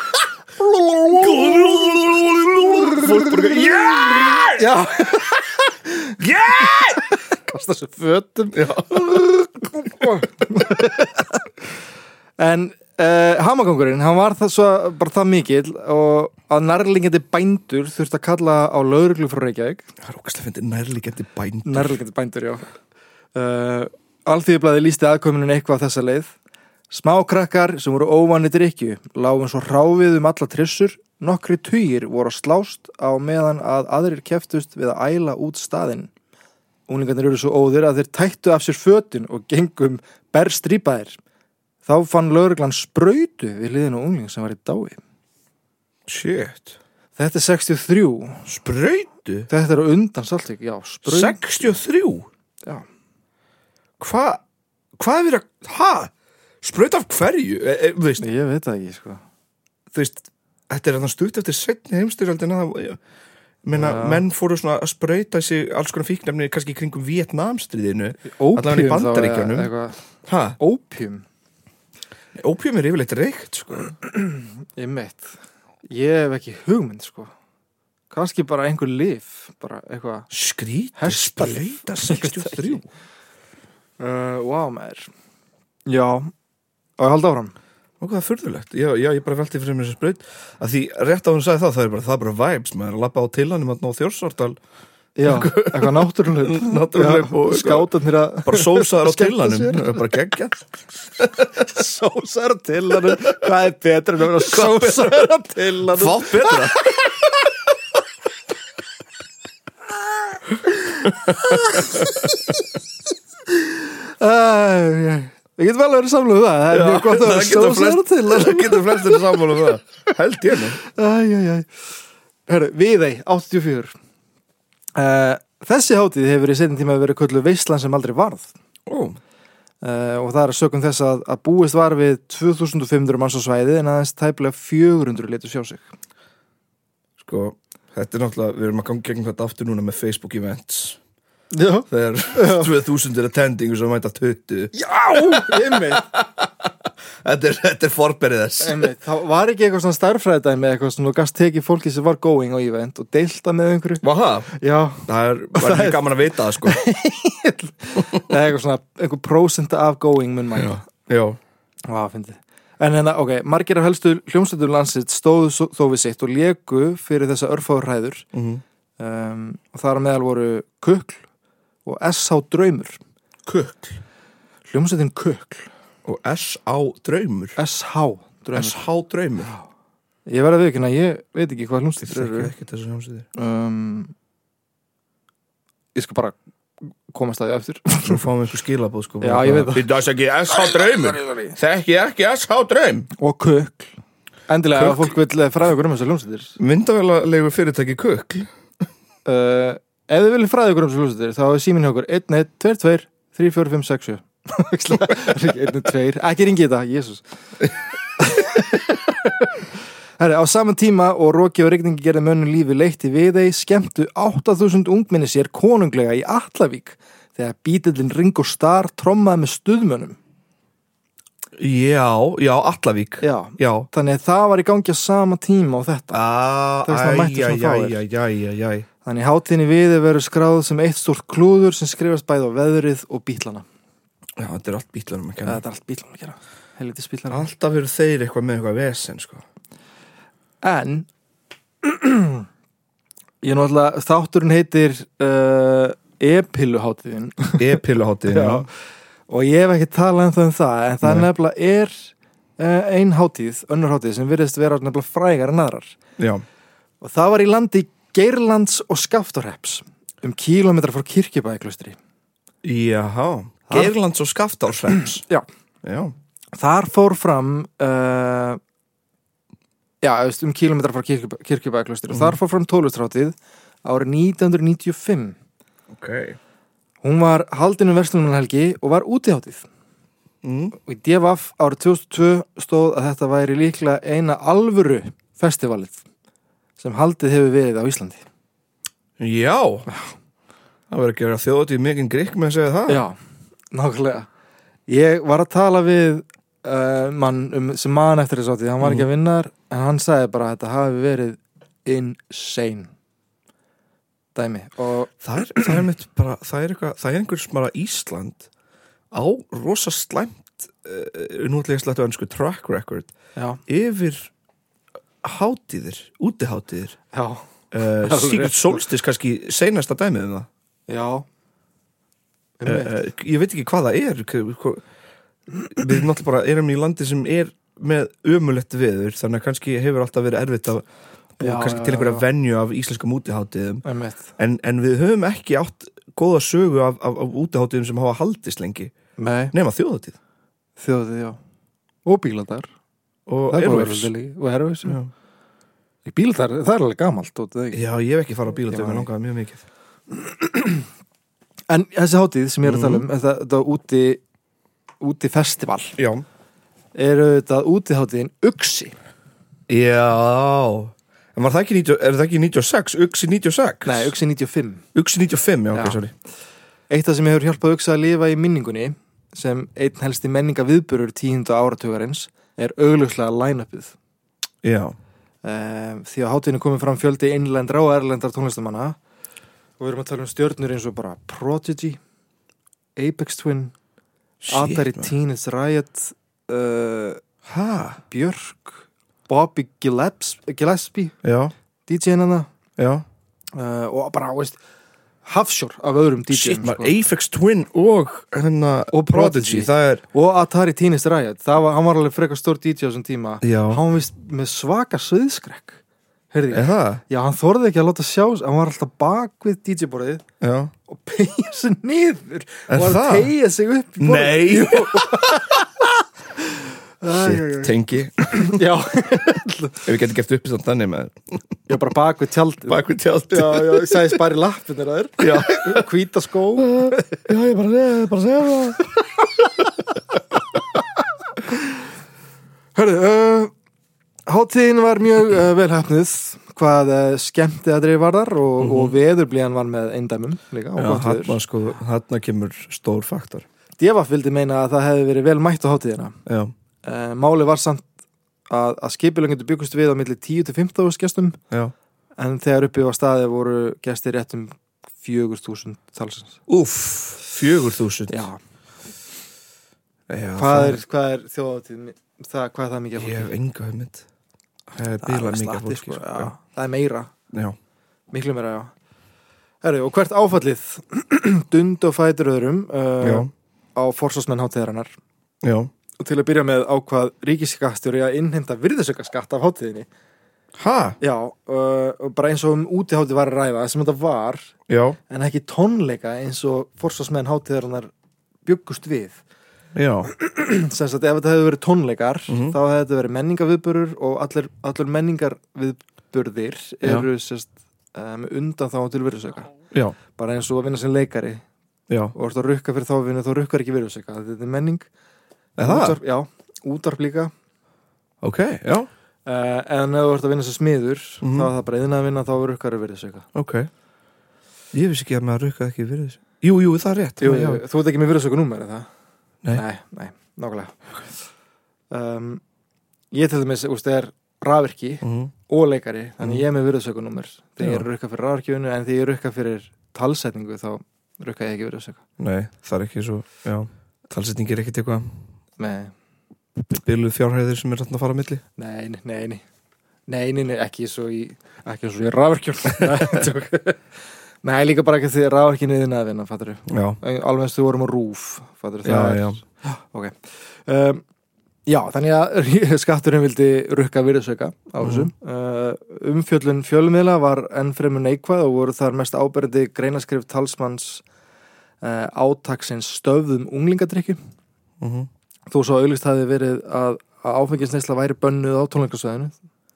Speaker 1: Fólk bara yeah!
Speaker 2: já
Speaker 1: Yeah!
Speaker 2: kasta sér fötum
Speaker 1: Já.
Speaker 2: en uh, hamagangurinn hann var það svo bara það mikill og að nærlingandi bændur þurfti að kalla á lauruglu frá Reykjavík
Speaker 1: Það er okkar slefindi nærlíkjandi bænd
Speaker 2: nærlingandi bændur já uh, alþýðublaði lísti aðkominin eitthvað á þessa leið Smákrakkar sem voru óvanni drikju lágum svo hrávið um alla trissur, nokkri týr voru að slást á meðan að aðrir keftust við að æla út staðinn. Úlingarnir eru svo óðir að þeir tættu af sér fötin og gengum berstrýpaðir. Þá fann lögreglan spröytu við liðinu ungling sem var í dái.
Speaker 1: Shit
Speaker 2: Þetta er 63,
Speaker 1: Spröytu
Speaker 2: þetta er á undan saltík, já, spröytu.
Speaker 1: 63
Speaker 2: Já.
Speaker 1: Hvað Hvað er verið að Hæ? Spröyt af hverju? E, e, þú veist,
Speaker 2: Ég veit það ekki, sko.
Speaker 1: þú veist Þetta er þannig stutt eftir setni heimstyrjöldin að Menna,
Speaker 2: Já.
Speaker 1: menn fóru svona að sprauta sig alls konar fíknefni kannski í kringum Vietnamstriðinu Allavega í
Speaker 2: Ópjum þá,
Speaker 1: Bandaríkjunum.
Speaker 2: eða eitthvað.
Speaker 1: Hæ?
Speaker 2: Ópjum,
Speaker 1: Ópjum er yfirleitt reykt, sko
Speaker 2: ég meitt. Ég hef ekki hugmynd, sko. Kanski bara einhver lif, bara eitthvað.
Speaker 1: Skrítið
Speaker 2: Hestalyf.
Speaker 1: sprauta
Speaker 2: Ég
Speaker 1: 63
Speaker 2: veit Uh, wow, maður. Já, og ég haldi áfram.
Speaker 1: Og hvað er furðulegt? Já, já, ég bara velti fyrir mér þessa spraut að því rétt á hún sagði það, það er bara, það er bara vibes maður er að lappa á tillanum að ná þjórsvartal
Speaker 2: Já, eitthvað náttúrulega.
Speaker 1: Náttúrulegur og eitthvað.
Speaker 2: Skátanir að
Speaker 1: bara sósaður á
Speaker 2: Skemmta
Speaker 1: tillanum
Speaker 2: sér.
Speaker 1: það er bara geggjað
Speaker 2: sósar til hann. Hvað er betra en að vera sósar til hann?
Speaker 1: Hvað betra?
Speaker 2: Við getum vel að vera samluð um það. Það er mjög gott að vera sósar til hann.
Speaker 1: Það getur flestir sammála um það Held ég nú
Speaker 2: Æj, æj, æj. Herru, Viðey, 84. Uh, þessi hátíð hefur í setjum tíma verið kullu veistlan sem aldrei varð
Speaker 1: Ó,
Speaker 2: uh, og það er að sökum þess að, að búist var við 2500 manns á svæði en aðeins tæplega 400 letur sjá sig.
Speaker 1: Sko, þetta er náttúrulega, við erum að ganga gegn þetta aftur núna með Facebook events
Speaker 2: Já.
Speaker 1: Þegar 2000 er attending og svo mæta 20
Speaker 2: Já, einmitt,
Speaker 1: Þetta er, þetta er forberið þess
Speaker 2: einmitt. Það var ekki eitthvað svona starffræðdæmi eitthvað svona og gast tekið fólki sem var going á event og deilta með einhverju.
Speaker 1: Vá það?
Speaker 2: Já,
Speaker 1: Það er, það er mjög gaman að vita það sko
Speaker 2: eða eitthvað svona, einhver prósenta af going mun mæta.
Speaker 1: Já
Speaker 2: Vá, fyndið. En hérna, ok, margir af helstu hljómsveitum landsitt stóðu svo- þó við sitt og leku fyrir þessa örfáður hræður
Speaker 1: Mhm.
Speaker 2: um, og þar á meðal voru Kukl og S.H. Draumur.
Speaker 1: Kukl
Speaker 2: Hljómsveitin Kukl,
Speaker 1: og S.A. Draumur
Speaker 2: S.H. Draumur.
Speaker 1: S.H. Draumur
Speaker 2: Ég verði að viðkynna, ég veit ekki hvað hljómsveitir
Speaker 1: Þekkið
Speaker 2: eru.
Speaker 1: ekki þessu hljómsveitir
Speaker 2: Um, ég skal bara komast að því eftir.
Speaker 1: Svo fáum við einhver skilabóð sko
Speaker 2: Já, ég veit það.
Speaker 1: Við dæs ekki S.H. Draumur Þekki ekki S.H. Draum
Speaker 2: Og Kukl.
Speaker 1: Kukl.
Speaker 2: Endilega, ef fólk vil fræða okkur um þessar hljómsveitir.
Speaker 1: Myndavælalegu fyrirtæki Kukl
Speaker 2: uh, ef þið viljið fræða ykkur um svo hljóðsættir þá er síminn hjá okkur 1, 1, 2, 2, 3, 4, 5, 6, 7 1, 2, ekki ringi þetta Jésús Herri, á saman tíma og Róki og Rigningi gerði mönnum lífi leitt í viðei skemmtu 8000 ungminni sér konunglega í Allavík þegar bítillin Ringo Starr trommaði með stuðmönnum
Speaker 1: Já, já, Allavík
Speaker 2: Já.
Speaker 1: Já
Speaker 2: þannig að það var í gangi á sama tíma og þetta
Speaker 1: Það
Speaker 2: er svona mættur svona fáir.
Speaker 1: fáir
Speaker 2: þannig hátíðin í viðei verður skráð sem eitt stórt klúður sem skrifast bæði á veðrið og bítlana
Speaker 1: Já, þetta er allt bítlunum að
Speaker 2: Já,
Speaker 1: kenna
Speaker 2: þetta er allt bílunum að gera. Helviti spílunum.
Speaker 1: Alltaf eru þeir eitthvað með eitthvað vesen sko
Speaker 2: En, ég er náttúrulega, þátturinn heitir uh, e-pilluháttiðin
Speaker 1: E-pilahátið
Speaker 2: og ég hef ekki talað um það um það, en það
Speaker 1: Nei.
Speaker 2: nefnilega er eh, ein hátíð, önnur hátíð sem virðist vera nefnilega frægar en aðrar
Speaker 1: já,
Speaker 2: og það var í landi Geirlands og Skaftorheps um kílómetra frá kirkjubæklaustri
Speaker 1: jáhá Geirlands og Skaftársvems
Speaker 2: Já,
Speaker 1: já,
Speaker 2: þar fór fram uh, já, þú veist, um kílómetra frá kirkjubæklaustri og þar fór fram tólustráttið árið 1995
Speaker 1: ok
Speaker 2: Hún var haldin um verslunarhelgi og var útiháttið
Speaker 1: mm.
Speaker 2: og í DFF árið 2002 stóð að þetta væri líklega eina alvöru festivalið sem haldið hefur verið á Íslandi.
Speaker 1: já það verður að gera þjóðatíð mikinn grikk með að segja það
Speaker 2: Já, nákvæmlega. Ég var að tala við uh, mann um, sem mann eftir þess áttið, hann var ekki að vinna þar en hann sagði bara að þetta hafi verið insane dæmi og
Speaker 1: það er, það er mitt bara það er, eitthvað, það er einhvers bara Ísland á rosa slæmt uh, nú ætla ég að slættu önsku track record
Speaker 2: já,
Speaker 1: yfir hátíðir, útihátíðir
Speaker 2: já,
Speaker 1: uh,
Speaker 2: Alveg
Speaker 1: Sigurd
Speaker 2: rétt.
Speaker 1: Solstis kannski seinasta dæmið um það
Speaker 2: já Um
Speaker 1: uh,
Speaker 2: Einmitt.
Speaker 1: uh, ég veit ekki hvað það er hva- hva- við náttúrulega bara erum í landi sem er með ömulegt veður þannig að kannski hefur alltaf verið erfitt að búa
Speaker 2: Já,
Speaker 1: kannski
Speaker 2: já,
Speaker 1: til einhverja
Speaker 2: já.
Speaker 1: venju af íslenskum útihátíðum
Speaker 2: einmitt.
Speaker 1: en, en við höfum ekki átt góða sögu af, af, af útihátíðum sem hafa haldist lengi
Speaker 2: Nei,
Speaker 1: nema þjóðatíð
Speaker 2: þjóðið, já. Og bíladar.
Speaker 1: og
Speaker 2: Það er bara
Speaker 1: Airwaves
Speaker 2: verið líka, og Airwaves
Speaker 1: Já.
Speaker 2: Í bíl þar, það er alveg gamalt dót, eða ekki?
Speaker 1: Já, ég hef ekki farað á bílatöfum,
Speaker 2: Já.
Speaker 1: ég langaði mjög mikið
Speaker 2: En þessi hátíð sem ég er að tala um þetta, þetta úti, úti festival
Speaker 1: Já
Speaker 2: er auðvitað úti hátíðin Uxi
Speaker 1: Já En var það ekki, 90, er það ekki 96? Uxi 96?
Speaker 2: Nei, Uxi 95
Speaker 1: Uxi 95, já,
Speaker 2: Já.
Speaker 1: ok, sorry
Speaker 2: Eitt af sem hefur hjálpað Uxi að lifa í minningunni sem einn helsti menninga viðburur tíundu áratugarins er augljóslega line-upið
Speaker 1: Já,
Speaker 2: um, því að hátíðinu komið fram fjöldi innlendra og erlendra tónlistamanna og við erum að tala um stjörnur eins og bara Prodigy Apex Twin Atari
Speaker 1: maður.
Speaker 2: Teenage Riot uh,
Speaker 1: Ha?
Speaker 2: Björk Bobby Gillespie, Gillespie
Speaker 1: Já,
Speaker 2: DJ-in hana
Speaker 1: já
Speaker 2: uh, og bara, veist hafsjór af öðrum sko.
Speaker 1: Shit,
Speaker 2: DJ-um
Speaker 1: maður, Aphex Twin og hérna
Speaker 2: Og Prodigy.
Speaker 1: Það er,
Speaker 2: og Atari Teenage Riot það var, hann var alveg frekar stór DJ á þessum tíma
Speaker 1: Já.
Speaker 2: hann var vist með svaka sviðskrekk heyrði
Speaker 1: er
Speaker 2: ég
Speaker 1: það?
Speaker 2: Já, hann þorði ekki að láta sjá, hann var alltaf bak við DJ-borðið
Speaker 1: Já
Speaker 2: og pegja sig niður
Speaker 1: Er
Speaker 2: og var að
Speaker 1: það?
Speaker 2: tegja sig upp í borðið.
Speaker 1: Nei Shit,
Speaker 2: Æ, æ, æ.
Speaker 1: tengi Ef
Speaker 2: Já,
Speaker 1: við getum gert upp þannig þannig með
Speaker 2: ég var bara bak við tjaldið
Speaker 1: Bakvið tjálti
Speaker 2: Já, já, ég sagði spari lappinir að
Speaker 1: Já.
Speaker 2: þér Hvíta skó
Speaker 1: já, ég bara, ég bara segja það
Speaker 2: Hörðu, uh, hátíðin var mjög uh, vel hefnuð hvað uh, skemmti að dreif varðar og, og veðurblíðan var með eindæmum líka og
Speaker 1: Já,
Speaker 2: gott
Speaker 1: hann
Speaker 2: veður
Speaker 1: sko, hann kemur stór faktor
Speaker 2: Devaf vildi meina að það hefði verið vel mætt á hátíðina
Speaker 1: Já,
Speaker 2: uh, Máli var samt að, að skipilöngundu byggust við á milli 10-15 gestum
Speaker 1: já
Speaker 2: en þegar uppi var staðið voru gestir rétt um 4.000 talsins
Speaker 1: Úff, fjögur þúsund
Speaker 2: Já,
Speaker 1: Já,
Speaker 2: hvað
Speaker 1: það-
Speaker 2: er, hvað er þjóðhátíð það, hvað er það mikið
Speaker 1: Ég
Speaker 2: af fólki?
Speaker 1: hef enga hugmynd Það er
Speaker 2: Það er
Speaker 1: bílað
Speaker 2: alveg
Speaker 1: mikið af
Speaker 2: slatti,
Speaker 1: fólki
Speaker 2: sko,
Speaker 1: sko.
Speaker 2: já. Það er meira
Speaker 1: Já.
Speaker 2: Miklu meira, já. Herru, og hvert áfallið dund og fætur öðrum
Speaker 1: Já.
Speaker 2: uh, á forsvarsmenn hátíðarinnar
Speaker 1: Já.
Speaker 2: og til að byrja með ákvað ríkiskastjóri að innheimta virðisaukaskatt af hátíðinni
Speaker 1: Ha?
Speaker 2: Já, uh, og bara eins og um útihátíð var að ræða sem þetta var,
Speaker 1: Já,
Speaker 2: en ekki tónleika eins og forsvarsmenn hátíðarinnar bjöggust við
Speaker 1: já
Speaker 2: sem sagt ef þetta hefði verið tónleikar
Speaker 1: Mhm.
Speaker 2: þá hefði þetta verið menningaviðburður og allir, allir menningarviðburðir
Speaker 1: Já.
Speaker 2: eru sérst um, undan þá til virðisauka
Speaker 1: Já,
Speaker 2: bara eins og að vinna sem leikari
Speaker 1: já
Speaker 2: og ert að rukka fyrir þá vinnu þá rukkar ekki virðisauka þetta er menning
Speaker 1: Er það?
Speaker 2: Útvarp- já, útarp líka
Speaker 1: Ok, já,
Speaker 2: uh, en ef þú ert að vinna sem smiður
Speaker 1: Mhm.
Speaker 2: þá er það bara eðina að vinna þá rukkar er virðisauka
Speaker 1: ok Ég vissi ekki að maður rukkað ekki fyrir þessu Jú, jú, það er rétt
Speaker 2: Jú,
Speaker 1: já.
Speaker 2: jú, þú ert ekki með virðisauka númer er það?
Speaker 1: Nei.
Speaker 2: nei, nei nákvæmlega um, ég til dæmis, úst, er rafirki
Speaker 1: Mhm.
Speaker 2: og leikari þannig
Speaker 1: Mhm.
Speaker 2: ég er með virðisaukunúmer þegar
Speaker 1: Já.
Speaker 2: ég er að rukka fyrir rafirkjöfunu en þegar ég rukka fyrir talsetningu þá rukka ég ekki virðisauka
Speaker 1: Nei, það er ekki svo Já, talsetning er ekkit eitthvað
Speaker 2: nei,
Speaker 1: Bíluð fjárhæðir sem er þarna að fara á milli
Speaker 2: nei, nei, nei nei, nei, nei, nei ekki svo í ekki svo í rafirkjöfun nei, líka bara ekki þegar rafirkinu þinn að vinna, fattur
Speaker 1: Já,
Speaker 2: alveg eins þú vorum á rúf fattur,
Speaker 1: já, já
Speaker 2: um, Já, þannig að skatturinn vildi rukka virðsauka á þessu. Uh, umfjöllun fjölmiðla var enn fremur neikvæð og voru þar mest áberandi greinaskrif talsmanns uh, átaksins stöfðum unglingadrykju.
Speaker 1: Mhm.
Speaker 2: Þó svo auðvist hafi verið að, að áfengisneisla væri bönnuð á tónleikasvæðinu.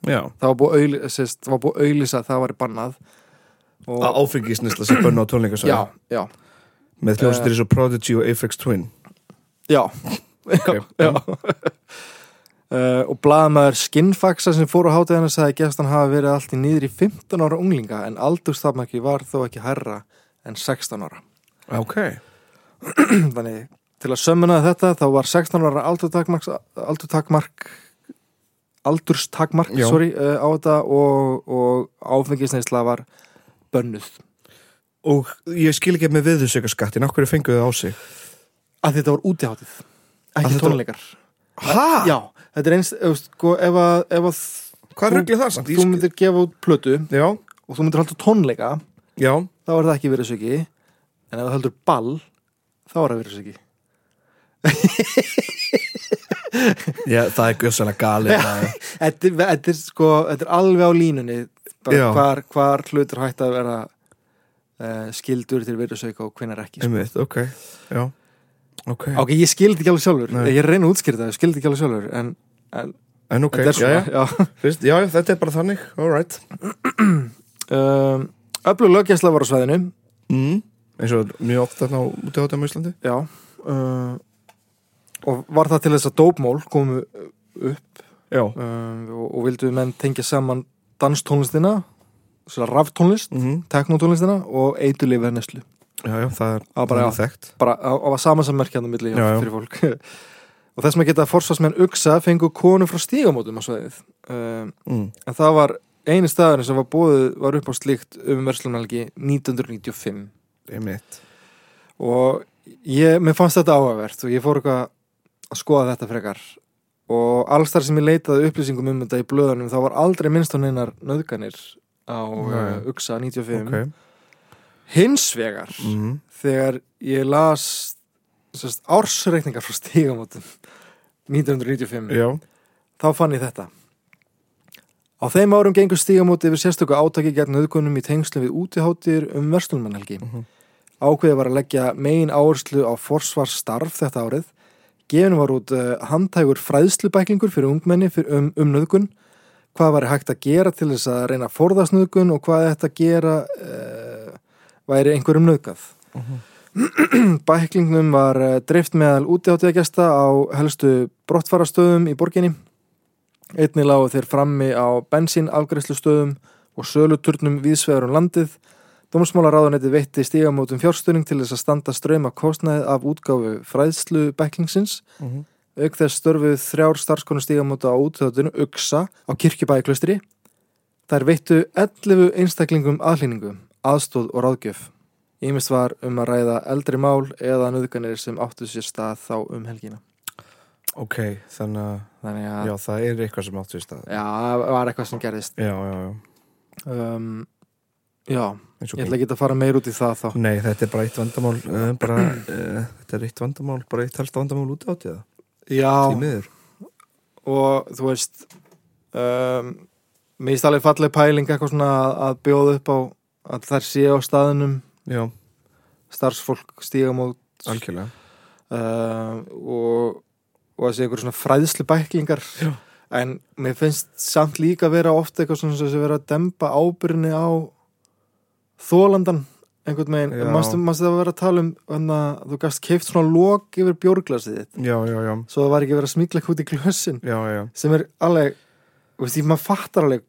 Speaker 1: Já,
Speaker 2: Það var búið auðlýsa, sérst, það var búið auðlýsa að það væri bannað. Og,
Speaker 1: að áfengisnisla sem bönnu á tónleikasæði
Speaker 2: já, Eh. já,
Speaker 1: með hljómsveitir eins og Prodigy og Aphex Twin
Speaker 2: já.
Speaker 1: okay.
Speaker 2: Já. uh, og blaðmaður skinnfaxa sem fór á hátíðana sagði að gestan hafa verið allt í niður í 15 ára unglinga en aldurstafnaki var þó ekki herra en 16 ára.
Speaker 1: ok
Speaker 2: Þannig til að sömmuna þetta þá var 16 ára aldurstakmark, aldurstakmark, aldurstakmark
Speaker 1: Já.
Speaker 2: sorry, uh, á þetta og, og áfengisneisla var bönnuð.
Speaker 1: og ég skil ekki með viðursökaskattin af hverju fenguðu þið á sig
Speaker 2: Að þetta var útiháttið,
Speaker 1: Að
Speaker 2: ekki
Speaker 1: þetta var-
Speaker 2: tónleikar.
Speaker 1: hæ?
Speaker 2: Já, þetta er eins, ef, sko, ef að, ef að
Speaker 1: hvað
Speaker 2: Þú-
Speaker 1: rugglir það samt? Ég
Speaker 2: þú
Speaker 1: skil-
Speaker 2: myndir gefa út plötu
Speaker 1: já,
Speaker 2: og þú myndir halda tónleika
Speaker 1: já,
Speaker 2: þá er það ekki virðisauki en ef þú heldur ball þá er það virðisauki
Speaker 1: já, það er gjössalega gali það er-
Speaker 2: þetta, er- þetta, er sko, þetta er alveg á línunni bara
Speaker 1: Já.
Speaker 2: hvar, hvar hlutur hægt að vera uh, skildur til virðisauka og hvenar ekki sko.
Speaker 1: einmitt, ok, já ok,
Speaker 2: ok, ég skildi ekki alveg sjálfur
Speaker 1: Mm. Nei.
Speaker 2: ég er að reyna að útskýrta það, ég skildi ekki alveg sjálfur en
Speaker 1: en ok,
Speaker 2: þetta er
Speaker 1: já, já,
Speaker 2: svona já.
Speaker 1: Fyrst, já, já, þetta er bara þannig, alright
Speaker 2: Um, öflug löggjæsla var á svæðinu
Speaker 1: mm. eins og mjög oft þarna á úti á Íslandi
Speaker 2: já uh, og var það til þess að dópmól komu upp
Speaker 1: já,
Speaker 2: um, og, og vildu menn tengja saman danstónlistina svona raftónlist,
Speaker 1: mm.
Speaker 2: teknotónlistina og eiturlifið neslu
Speaker 1: já, já, það er
Speaker 2: Á, bara,
Speaker 1: það
Speaker 2: já.
Speaker 1: er þekkt
Speaker 2: bara á að sama sammerkjandum milli hjá,
Speaker 1: Já, já.
Speaker 2: fyrir fólk og þess maður geta að forsvarsmenn Uxa fengu konu frá stígamótum á svæðið um,
Speaker 1: mm.
Speaker 2: en það var eini staðurinn sem var bóðið var upp á slíkt um verslunalgi 1995
Speaker 1: einmitt
Speaker 2: og ég, mér fannst þetta áhugavert og ég fór eitthvað að skoða þetta frekar og alls þar sem ég leitaði upplýsingum um þetta í blöðunum þá var aldrei minnst á neinar nöðganir á
Speaker 1: Nei.
Speaker 2: uh, UXA 95
Speaker 1: ok,
Speaker 2: hins vegar
Speaker 1: mm.
Speaker 2: þegar ég las sérst, ársreikningar frá stígamótum 1995
Speaker 1: já
Speaker 2: þá fann ég þetta á þeim árum gengur stígamóti yfir sérstöku átaki gegn nöðgunum í tengslum við útiháttir um verslunmannhelgi
Speaker 1: Mhm.
Speaker 2: ákveðið var að leggja megin áherslu á forsvarsstarf þetta árið. Gefin var út uh, handhægur fræðslubæklingur fyrir ungmenni fyrir um, um nöðgun, hvað var hægt að gera til þess að reyna að forðast nöðgun og hvað þetta gera uh, væri einhverjum nöðgað. Bæklingnum var uh, dreift meðal útiháttíðagesta á helstu brottfarastöðum í borginni. Einnig lágu þeir frammi á bensínafgreðslustöðum og söluturnum viðsveður um landið Dómsmálaráðunetti veitti stígamótum fjárstöning til þess að standa ströym af kostnaði af útgáfu fræðslu bæklingsins.
Speaker 1: Mhm.
Speaker 2: Auk þess störfuð þrjár starfskonu stígamóta á útöðunum Uxa á kirkjubæklaustri. Þær veittu 11 einstaklingum aðlýningu, aðstóð og ráðgjöf. Ímist var um að ræða eldri mál eða nöðganir sem áttu sér stað þá um helgina.
Speaker 1: ok, þannig að
Speaker 2: Þannig að, já,
Speaker 1: já, það er eitthvað sem áttu í stað
Speaker 2: var eitthvað sem gerðist.
Speaker 1: já, já, já,
Speaker 2: Um, já,
Speaker 1: eins og
Speaker 2: ég ætla ekki að fara meir út í það þá.
Speaker 1: Nei, þetta er bara eitt vandamál uh, bara, uh, Þetta er eitt vandamál bara eitt helst vandamál út átt í það
Speaker 2: Já,
Speaker 1: Því miður
Speaker 2: og þú veist um, mér finnst alveg falleg pæling eitthvað svona að, að bjóða upp á að þær séu á staðunum
Speaker 1: Já,
Speaker 2: starfsfólk stígamót
Speaker 1: algjörlega
Speaker 2: um, og, og að séu einhver svona fræðslu bæklingar
Speaker 1: Já.
Speaker 2: en mér finnst samt líka vera ofta eitthvað svona sem vera að dempa ábyrni á þólandan einhvern
Speaker 1: Já.
Speaker 2: veginn, mannstu það að vera að tala um þannig að þú gast keift svona lók yfir bjórglasið þitt,
Speaker 1: Já, já, já,
Speaker 2: svo það var ekki verið að smíkla eitthvað út í glössin
Speaker 1: já, já.
Speaker 2: sem er alveg þú veist, ég, maður fattar alveg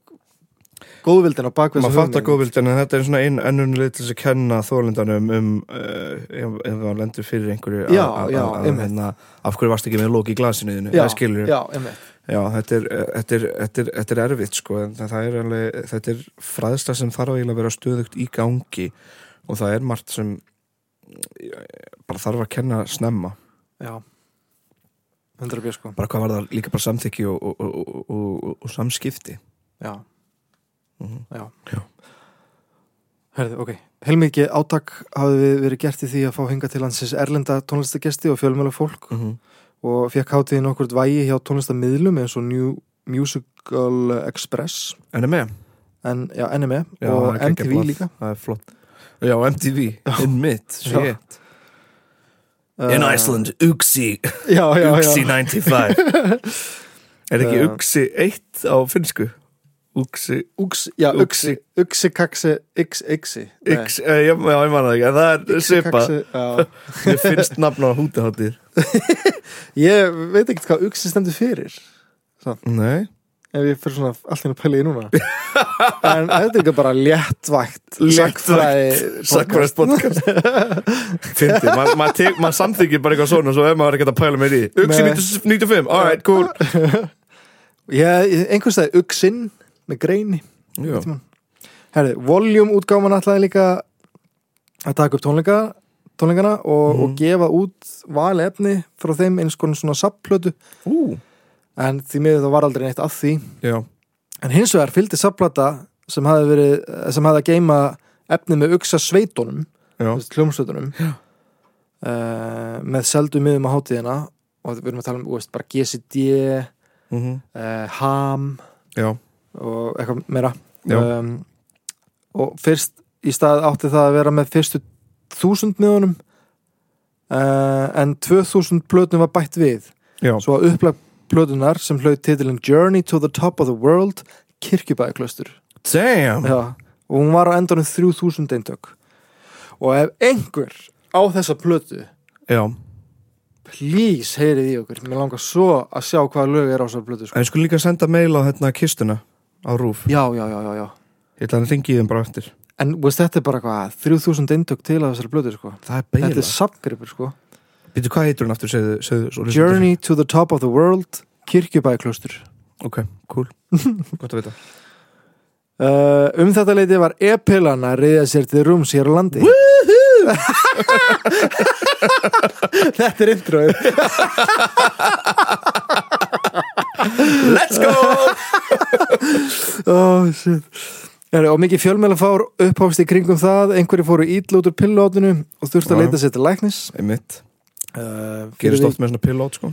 Speaker 2: góðvildin á bakveg
Speaker 1: Maður fattar góðvildin en þetta er svona ein ennum leið til þess að kenna þólendanum um uh, ef ef það lendur fyrir einhverju að-
Speaker 2: Já,
Speaker 1: að-
Speaker 2: já,
Speaker 1: að- að-
Speaker 2: einmitt.
Speaker 1: hérna, Af hverju varst ekki með lók í glasinu þínu
Speaker 2: já,
Speaker 1: Það skilur
Speaker 2: já, einmitt.
Speaker 1: Já, þetta er, eh, þetta er, þetta er, þetta er erfitt sko, en það er alveg, þetta er fræðsla sem þarf eiginlega að vera stöðugt í gangi og það er margt sem eh, bara þarf að kenna snemma
Speaker 2: já 100 björ sko
Speaker 1: bara hvað var það líka bara samþykki og, og, og, og, og, og samskipti
Speaker 2: já,
Speaker 1: Mhm.
Speaker 2: já.
Speaker 1: Já.
Speaker 2: Herðu, ok, heilmikið átak hafði verið gert í því að fá hinga til hansins erlenda tónlistagesti og fjölmjöla fólk
Speaker 1: mm -hmm.
Speaker 2: og fekk hátíðin okkur vægi hjá tónlistamiðlum eins og New Musical Express
Speaker 1: NME
Speaker 2: en, já, NME
Speaker 1: Já, það
Speaker 2: og
Speaker 1: er geggjað
Speaker 2: MTV
Speaker 1: blað.
Speaker 2: líka
Speaker 1: Það er flott Já, MTV, in mid Shit In
Speaker 2: Uh,
Speaker 1: Iceland, Uxi
Speaker 2: já, já, já.
Speaker 1: Uxi 95 Er ekki
Speaker 2: Uh,
Speaker 1: Uxi 1 á finnsku? Uxi
Speaker 2: Uxi, já, Uxi, Uxi, Kaxi, Ix, Ixi Nei,
Speaker 1: X, eh, já, já, ég man það ekki, en það er
Speaker 2: Uxi,
Speaker 1: svipa
Speaker 2: Kaxi, já.
Speaker 1: Mér finnst nafn á hútaháttir
Speaker 2: Ég veit ekkert hvað Uxi stendur fyrir
Speaker 1: Nei
Speaker 2: ef ég fyrir svona allt hérna pæli í núna en þetta er ekki bara léttvægt
Speaker 1: Léttvægt Sakkvæðast podcast Fyndi, maður ma ma samþykir bara eitthvað svona Svo ef maður er ekkert að pæla mér í því. Uxi
Speaker 2: Nei.
Speaker 1: 95, alright, cool
Speaker 2: Ég, einhvers það er Uxin með greini
Speaker 1: Já,
Speaker 2: Herri, Volume útgáman ætlaði líka að taka upp tónleika, tónleikana og, og
Speaker 1: Mhm.
Speaker 2: gefa út valefni frá þeim eins konar svona sapplötu
Speaker 1: ú,
Speaker 2: en því miður það var aldrei neitt að því
Speaker 1: já
Speaker 2: en hins vegar fylgdi sapplata sem hafði verið, eh, sem hafði að geima efni með uksa sveitunum
Speaker 1: Já,
Speaker 2: hljómsveitunum uh, með seldu miðum á hátíðina og við erum að tala um, þú veist, bara GCD
Speaker 1: mhm,
Speaker 2: uh, HAM
Speaker 1: já,
Speaker 2: og eitthvað meira
Speaker 1: Já.
Speaker 2: um, og fyrst í stað átti það að vera með fyrstu þúsund miðunum uh, en 2000 plötnum var bætt við
Speaker 1: já
Speaker 2: svo að upplag plötunar sem hlaut titilin Journey to the Top of the World kirkjubæðiklaustur
Speaker 1: Damn
Speaker 2: Já, og hún var á endanum 3000 eintök og ef einhver á þessa plötu
Speaker 1: Já,
Speaker 2: please heyrið í okkur mér langar svo að sjá hvaða lög er á þessa plötu sko.
Speaker 1: en við skulum líka senda mail á hérna kistuna á rúf
Speaker 2: já, já, já, já, já
Speaker 1: Ég ætla að ringi í þeim bara eftir
Speaker 2: en veist, þetta er bara hvað, 3000 eintök til á þessari plötu sko.
Speaker 1: Það er
Speaker 2: þetta
Speaker 1: beila
Speaker 2: er samgripur sko
Speaker 1: Býtu, hvað heitur hún aftur, segðu, segðu svo lýsum
Speaker 2: Journey to the Top of the World kirkjubæklustur
Speaker 1: þetta. Ok, cool Gott að vita
Speaker 2: uh, um þetta leiti var e-pilan að reyða sér til rúms hér á landi þetta er introið
Speaker 1: Let's go
Speaker 2: oh, shit. Herri, og mikið fjölmjöla fár upphást í kringum það einhverju fóru ítl út úr pillótinu og þurfti að
Speaker 1: Já.
Speaker 2: leita sér til læknis
Speaker 1: Einmitt,
Speaker 2: uh,
Speaker 1: gerist oft með svona pillót, sko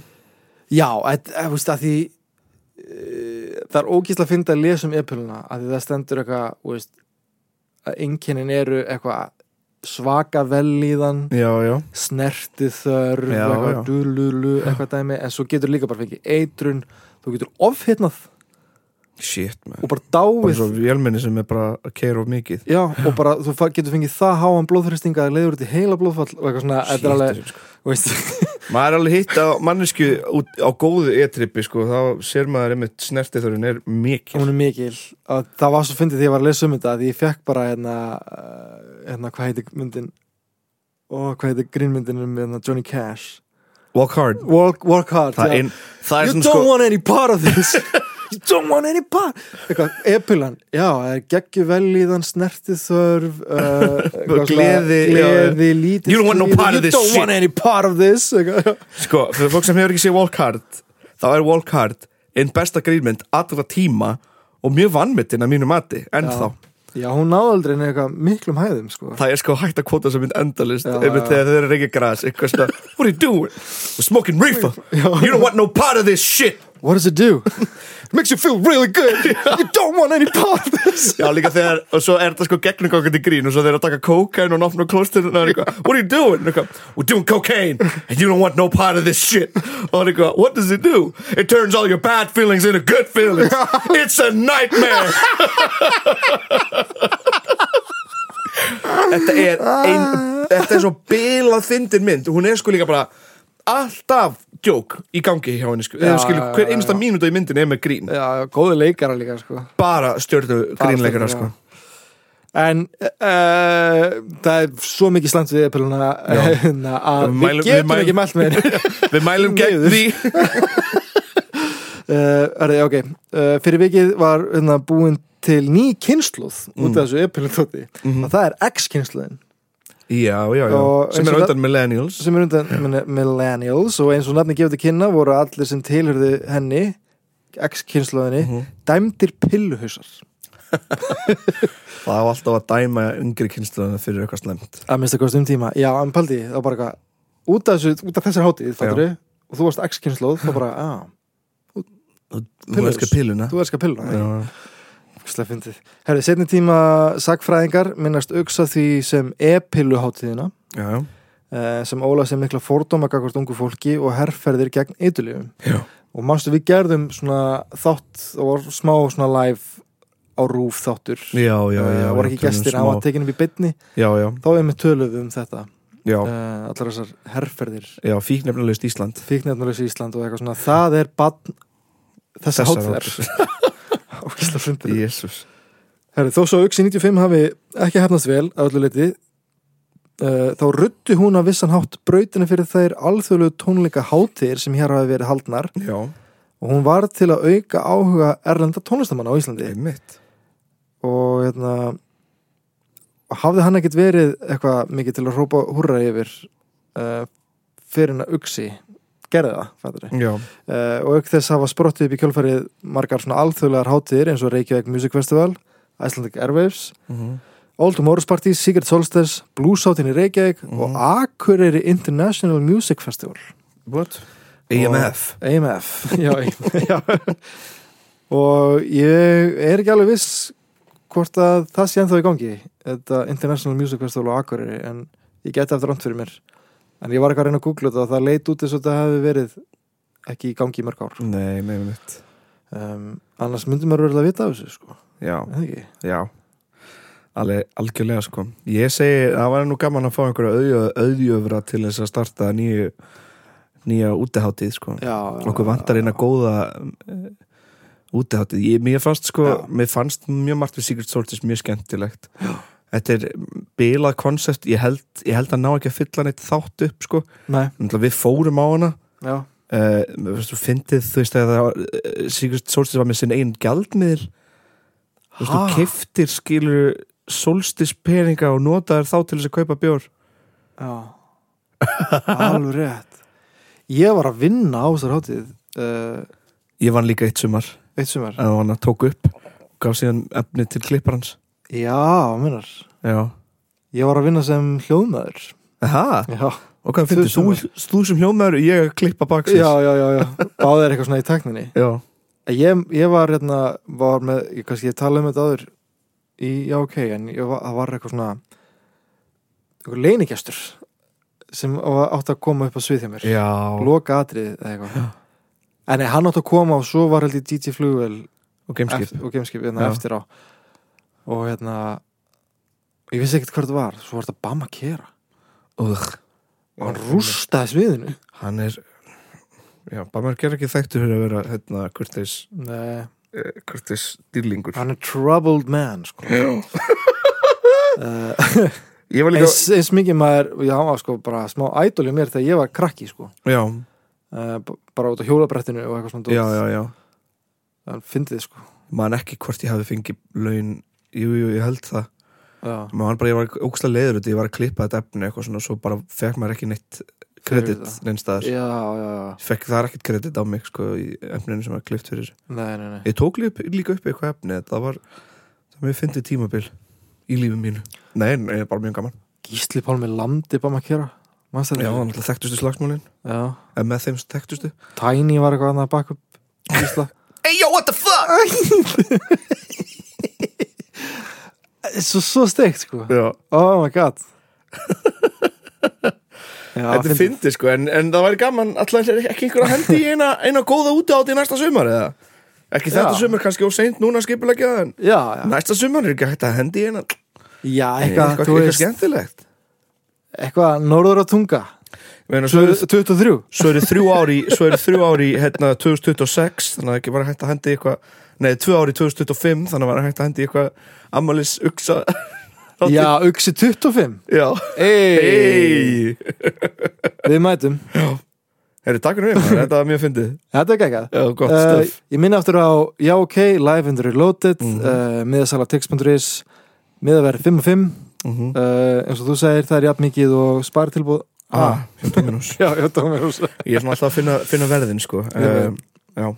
Speaker 2: já, að, að, veist, að því uh, það er ógísla að finna að lesa um e-pilluna að því það stendur eitthvað þú veist, að einkennin eru eitthvað svaka vellíðan
Speaker 1: Já, já,
Speaker 2: snerti þörf
Speaker 1: Já,
Speaker 2: eitthvað,
Speaker 1: já.
Speaker 2: dululu, eitthvað dæmi en svo getur líka bara fengið eitrun þú getur ofhittnað
Speaker 1: shit, man
Speaker 2: og bara
Speaker 1: Bara
Speaker 2: dáið
Speaker 1: svo vélminni sem er bara að keira of mikið
Speaker 2: Já, og bara þú fa- getur fengið það háan blóðþrýstinga að leiður út í heila blóðfall og eitthvað svona, þetta er alveg,
Speaker 1: Shit, sko.
Speaker 2: þú veist
Speaker 1: Maður er alveg hitt á mannesku út, á góðu e-trippi, sko Þá sér maður einmitt snertiþörun er mikið
Speaker 2: hún er mikil, að það var svo fyndið því ég var að lesa um þetta, því ég fekk bara hérna, eh, hérna, hvað heitir myndin og hvað heitir grínmyndin um hérna, Johnny Cash
Speaker 1: Walk hard
Speaker 2: Walk, walk hard,
Speaker 1: Það,
Speaker 2: já.
Speaker 1: ein, það er
Speaker 2: You
Speaker 1: svona,
Speaker 2: don't
Speaker 1: sko
Speaker 2: want any part of this You don't want any part Eitthvað, epilan, já, það er geggju velíðan snertiþörf uh, eitthvað svona-
Speaker 1: Gleði, já.
Speaker 2: Gleði, lítið
Speaker 1: You don't want no
Speaker 2: stríð,
Speaker 1: part of this
Speaker 2: You don't
Speaker 1: shit.
Speaker 2: want any part of this eitthvað.
Speaker 1: Sko, fyrir fólk sem hefur ekki séð Walk Hard þá er Walk Hard einn besta grínmynd allra tíma og mjög vannmyndin að mínu mati, ennþá
Speaker 2: Já, hún náði aldrei neina eitthvað miklum hæðum sko.
Speaker 1: Það er sko hægt að kvota sem mynd endalist
Speaker 2: Já,
Speaker 1: einmitt
Speaker 2: já.
Speaker 1: þegar þeir eru ekki græs eitthvað svona, what are you doing? We're smoking reefer You don't want no part of this shit
Speaker 2: What does it do? Makes you feel really good You don't want any part of this
Speaker 1: Já, líka þegar, og svo er þetta sko gegnugangandi grín og svo þeir eru að taka cocaine og náttúrulega klóstirna og eitthvað, what are you doing? Eitthvað, We're doing cocaine and you don't want no part of this shit og eitthvað, what does it do? It turns all your bad feelings into good feelings It's a nightmare Þetta er ein, þetta er svo bilað fyndin mynd hún er sko líka bara alltaf djók í gangi hjá henni sko.
Speaker 2: Já,
Speaker 1: Eða skilur,
Speaker 2: já,
Speaker 1: hver
Speaker 2: já,
Speaker 1: einsta
Speaker 2: já.
Speaker 1: mínúta í myndin er með grín
Speaker 2: Já, góði leikara líka sko.
Speaker 1: bara stjörnu grínleikara
Speaker 2: já.
Speaker 1: sko.
Speaker 2: En uh, það er svo mikið slant við eppiluna
Speaker 1: Já.
Speaker 2: hérna, að
Speaker 1: Við
Speaker 2: við
Speaker 1: mælum- við
Speaker 2: getum
Speaker 1: mælum-
Speaker 2: ekki mælt með henni
Speaker 1: Við mælum gegn
Speaker 2: Miður.
Speaker 1: því
Speaker 2: Uh, erði, ok, uh, fyrir vikið var hérna, búin til ný kynsluð út af þessu epilindóti
Speaker 1: Mm.
Speaker 2: og
Speaker 1: Mhm.
Speaker 2: það er X-kynsluðin
Speaker 1: Já, já, já,
Speaker 2: Og
Speaker 1: sem
Speaker 2: eins
Speaker 1: er
Speaker 2: og
Speaker 1: undan millennials
Speaker 2: sem er undan minni- millennials og eins og nafni gefið til kynna voru allir sem tilhörðu henni X-kynsluðinni
Speaker 1: Mm-hmm. Mhm.
Speaker 2: dæmdir pilluhausar
Speaker 1: Það á alltaf að dæma yngri kynsluðana fyrir eitthvað slemt
Speaker 2: að minnst að kosti um tíma, já, en paldi þá bara eitthvað, út af, þessu, út af þessar hátíð, fattur við og þú varst X-kynnslóð, þá bara, að,
Speaker 1: Þú elskar pilluna
Speaker 2: þú elskar pilluna.
Speaker 1: Já.
Speaker 2: Ógeðslega fyndið. Herri, setni tíma sagfræðingar minnast auksa því sem e-pilluháttíðina
Speaker 1: Já, já.
Speaker 2: eh, sem Ólaf sem mikla fordóma gagvart ungu fólki og herrferðir gegn eitulífum
Speaker 1: Já.
Speaker 2: og manstu við gerðum svona þátt og var smá svona live á rúf þáttur
Speaker 1: Já, já, já,
Speaker 2: Eh, voru ekki
Speaker 1: tölum
Speaker 2: gestir á
Speaker 1: smá-
Speaker 2: að tekinum í bytni
Speaker 1: Já, já,
Speaker 2: þá er með töluð um þetta
Speaker 1: já,
Speaker 2: uh, allar þessar herrferðir
Speaker 1: já, fíknefnilegust Ísland
Speaker 2: fíknefnulegs Ísland og eitthvað svona það er bann
Speaker 1: Þessar
Speaker 2: þessar hátíðar ógislega fundur
Speaker 1: Jésús
Speaker 2: Herri, þó svo auksi 95 hafi ekki hefnast vel að öllu leiti uh, þá ruttu hún að vissan hátt brautina fyrir þær alþjóðlegu tónleika hátir sem hér hafi verið haldnar
Speaker 1: Já,
Speaker 2: og hún var til að auka áhuga erlenda tónlistamanna á Íslandi
Speaker 1: einmitt
Speaker 2: og hérna og hafði hann ekkit verið eitthvað mikið til að hrópa húrra yfir uh, fyrir hennar auksi gerði það, fættur
Speaker 1: Já,
Speaker 2: uh, og auk þess hafa sprottið upp í kjölfarið margar svona alþjóðlegar hátíðir eins og Reykjavík Music Festival, Icelandic Airwaves
Speaker 1: mhm.
Speaker 2: Old Tomorrow's Party, Secret Solstice, Blueshoutin í Reykjavík og Akureyri International Music Festival
Speaker 1: what? EMF
Speaker 2: og, AMF já, já. og ég er ekki alveg viss hvort að það sé ennþá í gangi þetta International Music Festival á Akureyri en ég geti eftir rámt fyrir mér en ég var eitthvað að reyna að googla þetta og það leit út eins og þetta hefði verið ekki í gangi í mörg ár
Speaker 1: Nei, nei, mitt
Speaker 2: um, annars myndum maður verið að vita af þessu sko,
Speaker 1: Já,
Speaker 2: eða ekki
Speaker 1: já Alveg, algjörlega sko Ég segi, það var nú gaman að fá einhverja auðjö, auðjöfra til þess að starta nýju nýja útiháttíð sko
Speaker 2: já, já,
Speaker 1: okkur vantar eina góða uh, útiháttíð ég, mér, fannst, sko,
Speaker 2: Já.
Speaker 1: mér fannst mjög margt við Secret Solstice mjög skemmtilegt þetta er bilað konsept ég held, ég held að ná ekki að fylla neitt þátt upp sko.
Speaker 2: Nei,
Speaker 1: Náttúrulega við fórum á hana
Speaker 2: já,
Speaker 1: uh, þú fyndið þú veist að það, var- eh, Secret Solstice var með sinn eigin gjaldmiðl þú veist þú
Speaker 2: Ha?
Speaker 1: keftir skilur Solstice peninga og notaðir þá til þess að kaupa bjór
Speaker 2: Já, alveg rétt Ég var að vinna á þessar hátíð uh,
Speaker 1: ég vann líka eitt sumar
Speaker 2: Eitt sumar
Speaker 1: að hann tók upp gaf síðan efni til klipparans
Speaker 2: Já, minnar
Speaker 1: já
Speaker 2: Ég var að vinna sem hljóðmaður
Speaker 1: Aha.
Speaker 2: Já,
Speaker 1: Og hvað finnst þú,
Speaker 2: Þusum
Speaker 1: þú sem hljómaður og ég að klippa baksins?
Speaker 2: já, já, já, já. Báðið er eitthvað svona í tækninni
Speaker 1: Já,
Speaker 2: Ég, ég var hérna, var með, ég, kannski ég talaði um þetta áður í, já, ok, en ég var, það var eitthvað svona eitthvað leinigestur sem var- átti að koma upp á svið hjá mér
Speaker 1: já.
Speaker 2: Loka atrið eða eitthvað En nei, hann átti að koma og svo var held í DJ Flugvel
Speaker 1: og gameskip
Speaker 2: Eft- og gameskip hérna,
Speaker 1: Já.
Speaker 2: eftir á og hérna ég vissi ekkert hvað þetta var, svo var þetta Bama Kera
Speaker 1: Ugh,
Speaker 2: og hann rústaði sviðinu
Speaker 1: Hann er Já, bara maður gerir ekki þekktur fyrir að vera hérna, Curtis,
Speaker 2: Nei,
Speaker 1: uh, Curtis dýrlingur
Speaker 2: hann er troubled man sko.
Speaker 1: Já Eh,
Speaker 2: uh,
Speaker 1: Ég var líka
Speaker 2: eins, eins mikið maður já, hann var sko bara smá idol í mér þegar ég var krakki sko.
Speaker 1: Já,
Speaker 2: uh, b- bara út á hjólabrettinu og eitthvað svona dót.
Speaker 1: já, já, já
Speaker 2: hann fyndi þið sko
Speaker 1: Man ekki hvort ég hafi fengið laun Jú, jú, ég held það
Speaker 2: já,
Speaker 1: Man bara, ég var ógstlega leiður út í, Ég var að klippa þetta efni eitthvað svona Svo bara fekk maður ekki neitt
Speaker 2: Fyrir
Speaker 1: kredit
Speaker 2: það.
Speaker 1: Neinstæðar
Speaker 2: já, já, já.
Speaker 1: Fekk það er ekkert kredit á mig sko Í efninu sem var klipt fyrir
Speaker 2: Nei, nei, nei.
Speaker 1: Ég tók líka upp, líka upp eitthvað efni Það var, það var mjög fyndið tímabil Í lífum mínu Nei, nei, bara mjög gaman
Speaker 2: Gísli Pálmi landi Bama Kera Manstu
Speaker 1: Já,
Speaker 2: þetta?
Speaker 1: náttúrulega þekktustu slagsmálin
Speaker 2: já.
Speaker 1: En með þeim þekktustu
Speaker 2: Tiny var eitthvað annað bak upp Gísla
Speaker 1: Hey yo, what the fuck
Speaker 2: svo, svo steikt sko
Speaker 1: Já,
Speaker 2: Oh my god Já,
Speaker 1: þetta er
Speaker 2: fyndið.
Speaker 1: fyndið sko en, en það væri gaman, alltaf er ekki einhver að hendi í eina, eina góða úti í næsta sumar eða Ekki þetta
Speaker 2: Já.
Speaker 1: sumar, kannski óseint núna skipulegja það En
Speaker 2: Já, já,
Speaker 1: næsta sumar er ekki hægt að hendi í eina
Speaker 2: já
Speaker 1: Eitthvað,
Speaker 2: eitthvað, þú
Speaker 1: eitthvað, eitthvað
Speaker 2: veist,
Speaker 1: skemmtilegt
Speaker 2: eitthvað norður á tunga
Speaker 1: Meina, svo, eru,
Speaker 2: 23
Speaker 1: svo eru þrjú ári Svo eru þrjú ári, hérna, 2026 Þannig að ekki var hægt að hendi í eitthvað Nei, tvö ári 2025, þannig að var hægt að hendi í eitthvað Amalis uksa
Speaker 2: Já, uksi 25
Speaker 1: Já
Speaker 2: Ey,
Speaker 1: Hey.
Speaker 2: Við mætum,
Speaker 1: Herri, takk fyrir mig, maður. þetta var mjög fyndið
Speaker 2: þetta er geggjað
Speaker 1: Já, gott
Speaker 2: Eh,
Speaker 1: stöf
Speaker 2: Ég minna aftur á Já ok, live and reloaded mm
Speaker 1: Mhm.
Speaker 2: miðasala tix.is miðaverð 5 og 5
Speaker 1: mm -hmm.
Speaker 2: uh, eins og þú segir, það er jafn mikið og spartilbúð
Speaker 1: ah, hjá Dominos
Speaker 2: Já, já, tómur hús
Speaker 1: Ég er svona alltaf að finna, finna verðin sko
Speaker 2: Já, já.
Speaker 1: um, Já,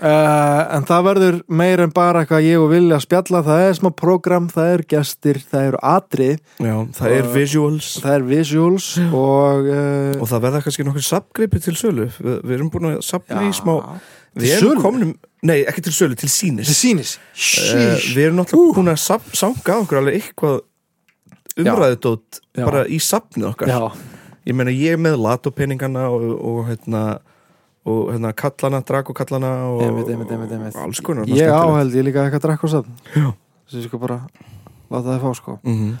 Speaker 2: Uh, en það verður meir en bara eitthvað ég og vilja að spjalla, það er smá program, það er gestir, það eru atrið,
Speaker 1: Já, það er visuals
Speaker 2: það er visuals og, uh,
Speaker 1: og það verða kannski nokkur subgripi til sölu við, við erum búin að sapna í
Speaker 2: Já.
Speaker 1: smá
Speaker 2: Til
Speaker 1: við erum
Speaker 2: sölu?
Speaker 1: komnum, nei ekki til sölu, til sínis
Speaker 2: það sýnis.
Speaker 1: uh, við erum náttúrulega búin að sap, sanga okkur alveg eitthvað umræðutótt
Speaker 2: Já.
Speaker 1: bara í sapnið okkar
Speaker 2: Já,
Speaker 1: ég meina ég er með latopenningana og, og hérna og hérna kallana, drakokallana og,
Speaker 2: Einmitt, einmitt, einmitt, einmitt.
Speaker 1: og alls konar
Speaker 2: ég hérna- áheld, ég líka eitthvað drakk og sann,
Speaker 1: Já.
Speaker 2: sem ég sko bara láta það fá sko.
Speaker 1: mm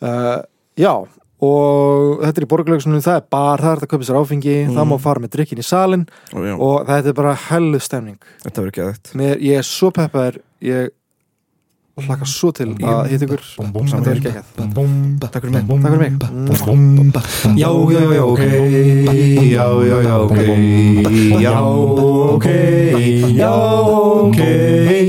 Speaker 2: Uh, já, og þetta er í borgarleiksunum, það er bar, það er þetta að köpa sér áfengi, það má fara með drikkin í salin
Speaker 1: og, já,
Speaker 2: og þetta er bara hellu stemning.
Speaker 1: þetta verður ekki að þetta
Speaker 2: Mér, ég er svo peppaður, ég hlaka svo til að hitt ykkur, þetta verður ekki ekkert.
Speaker 1: Takk fyrir mig.
Speaker 2: Takk fyrir mig.
Speaker 3: Mm. Já, já, já, ok Já, já, já, ok Já, ok Já, ok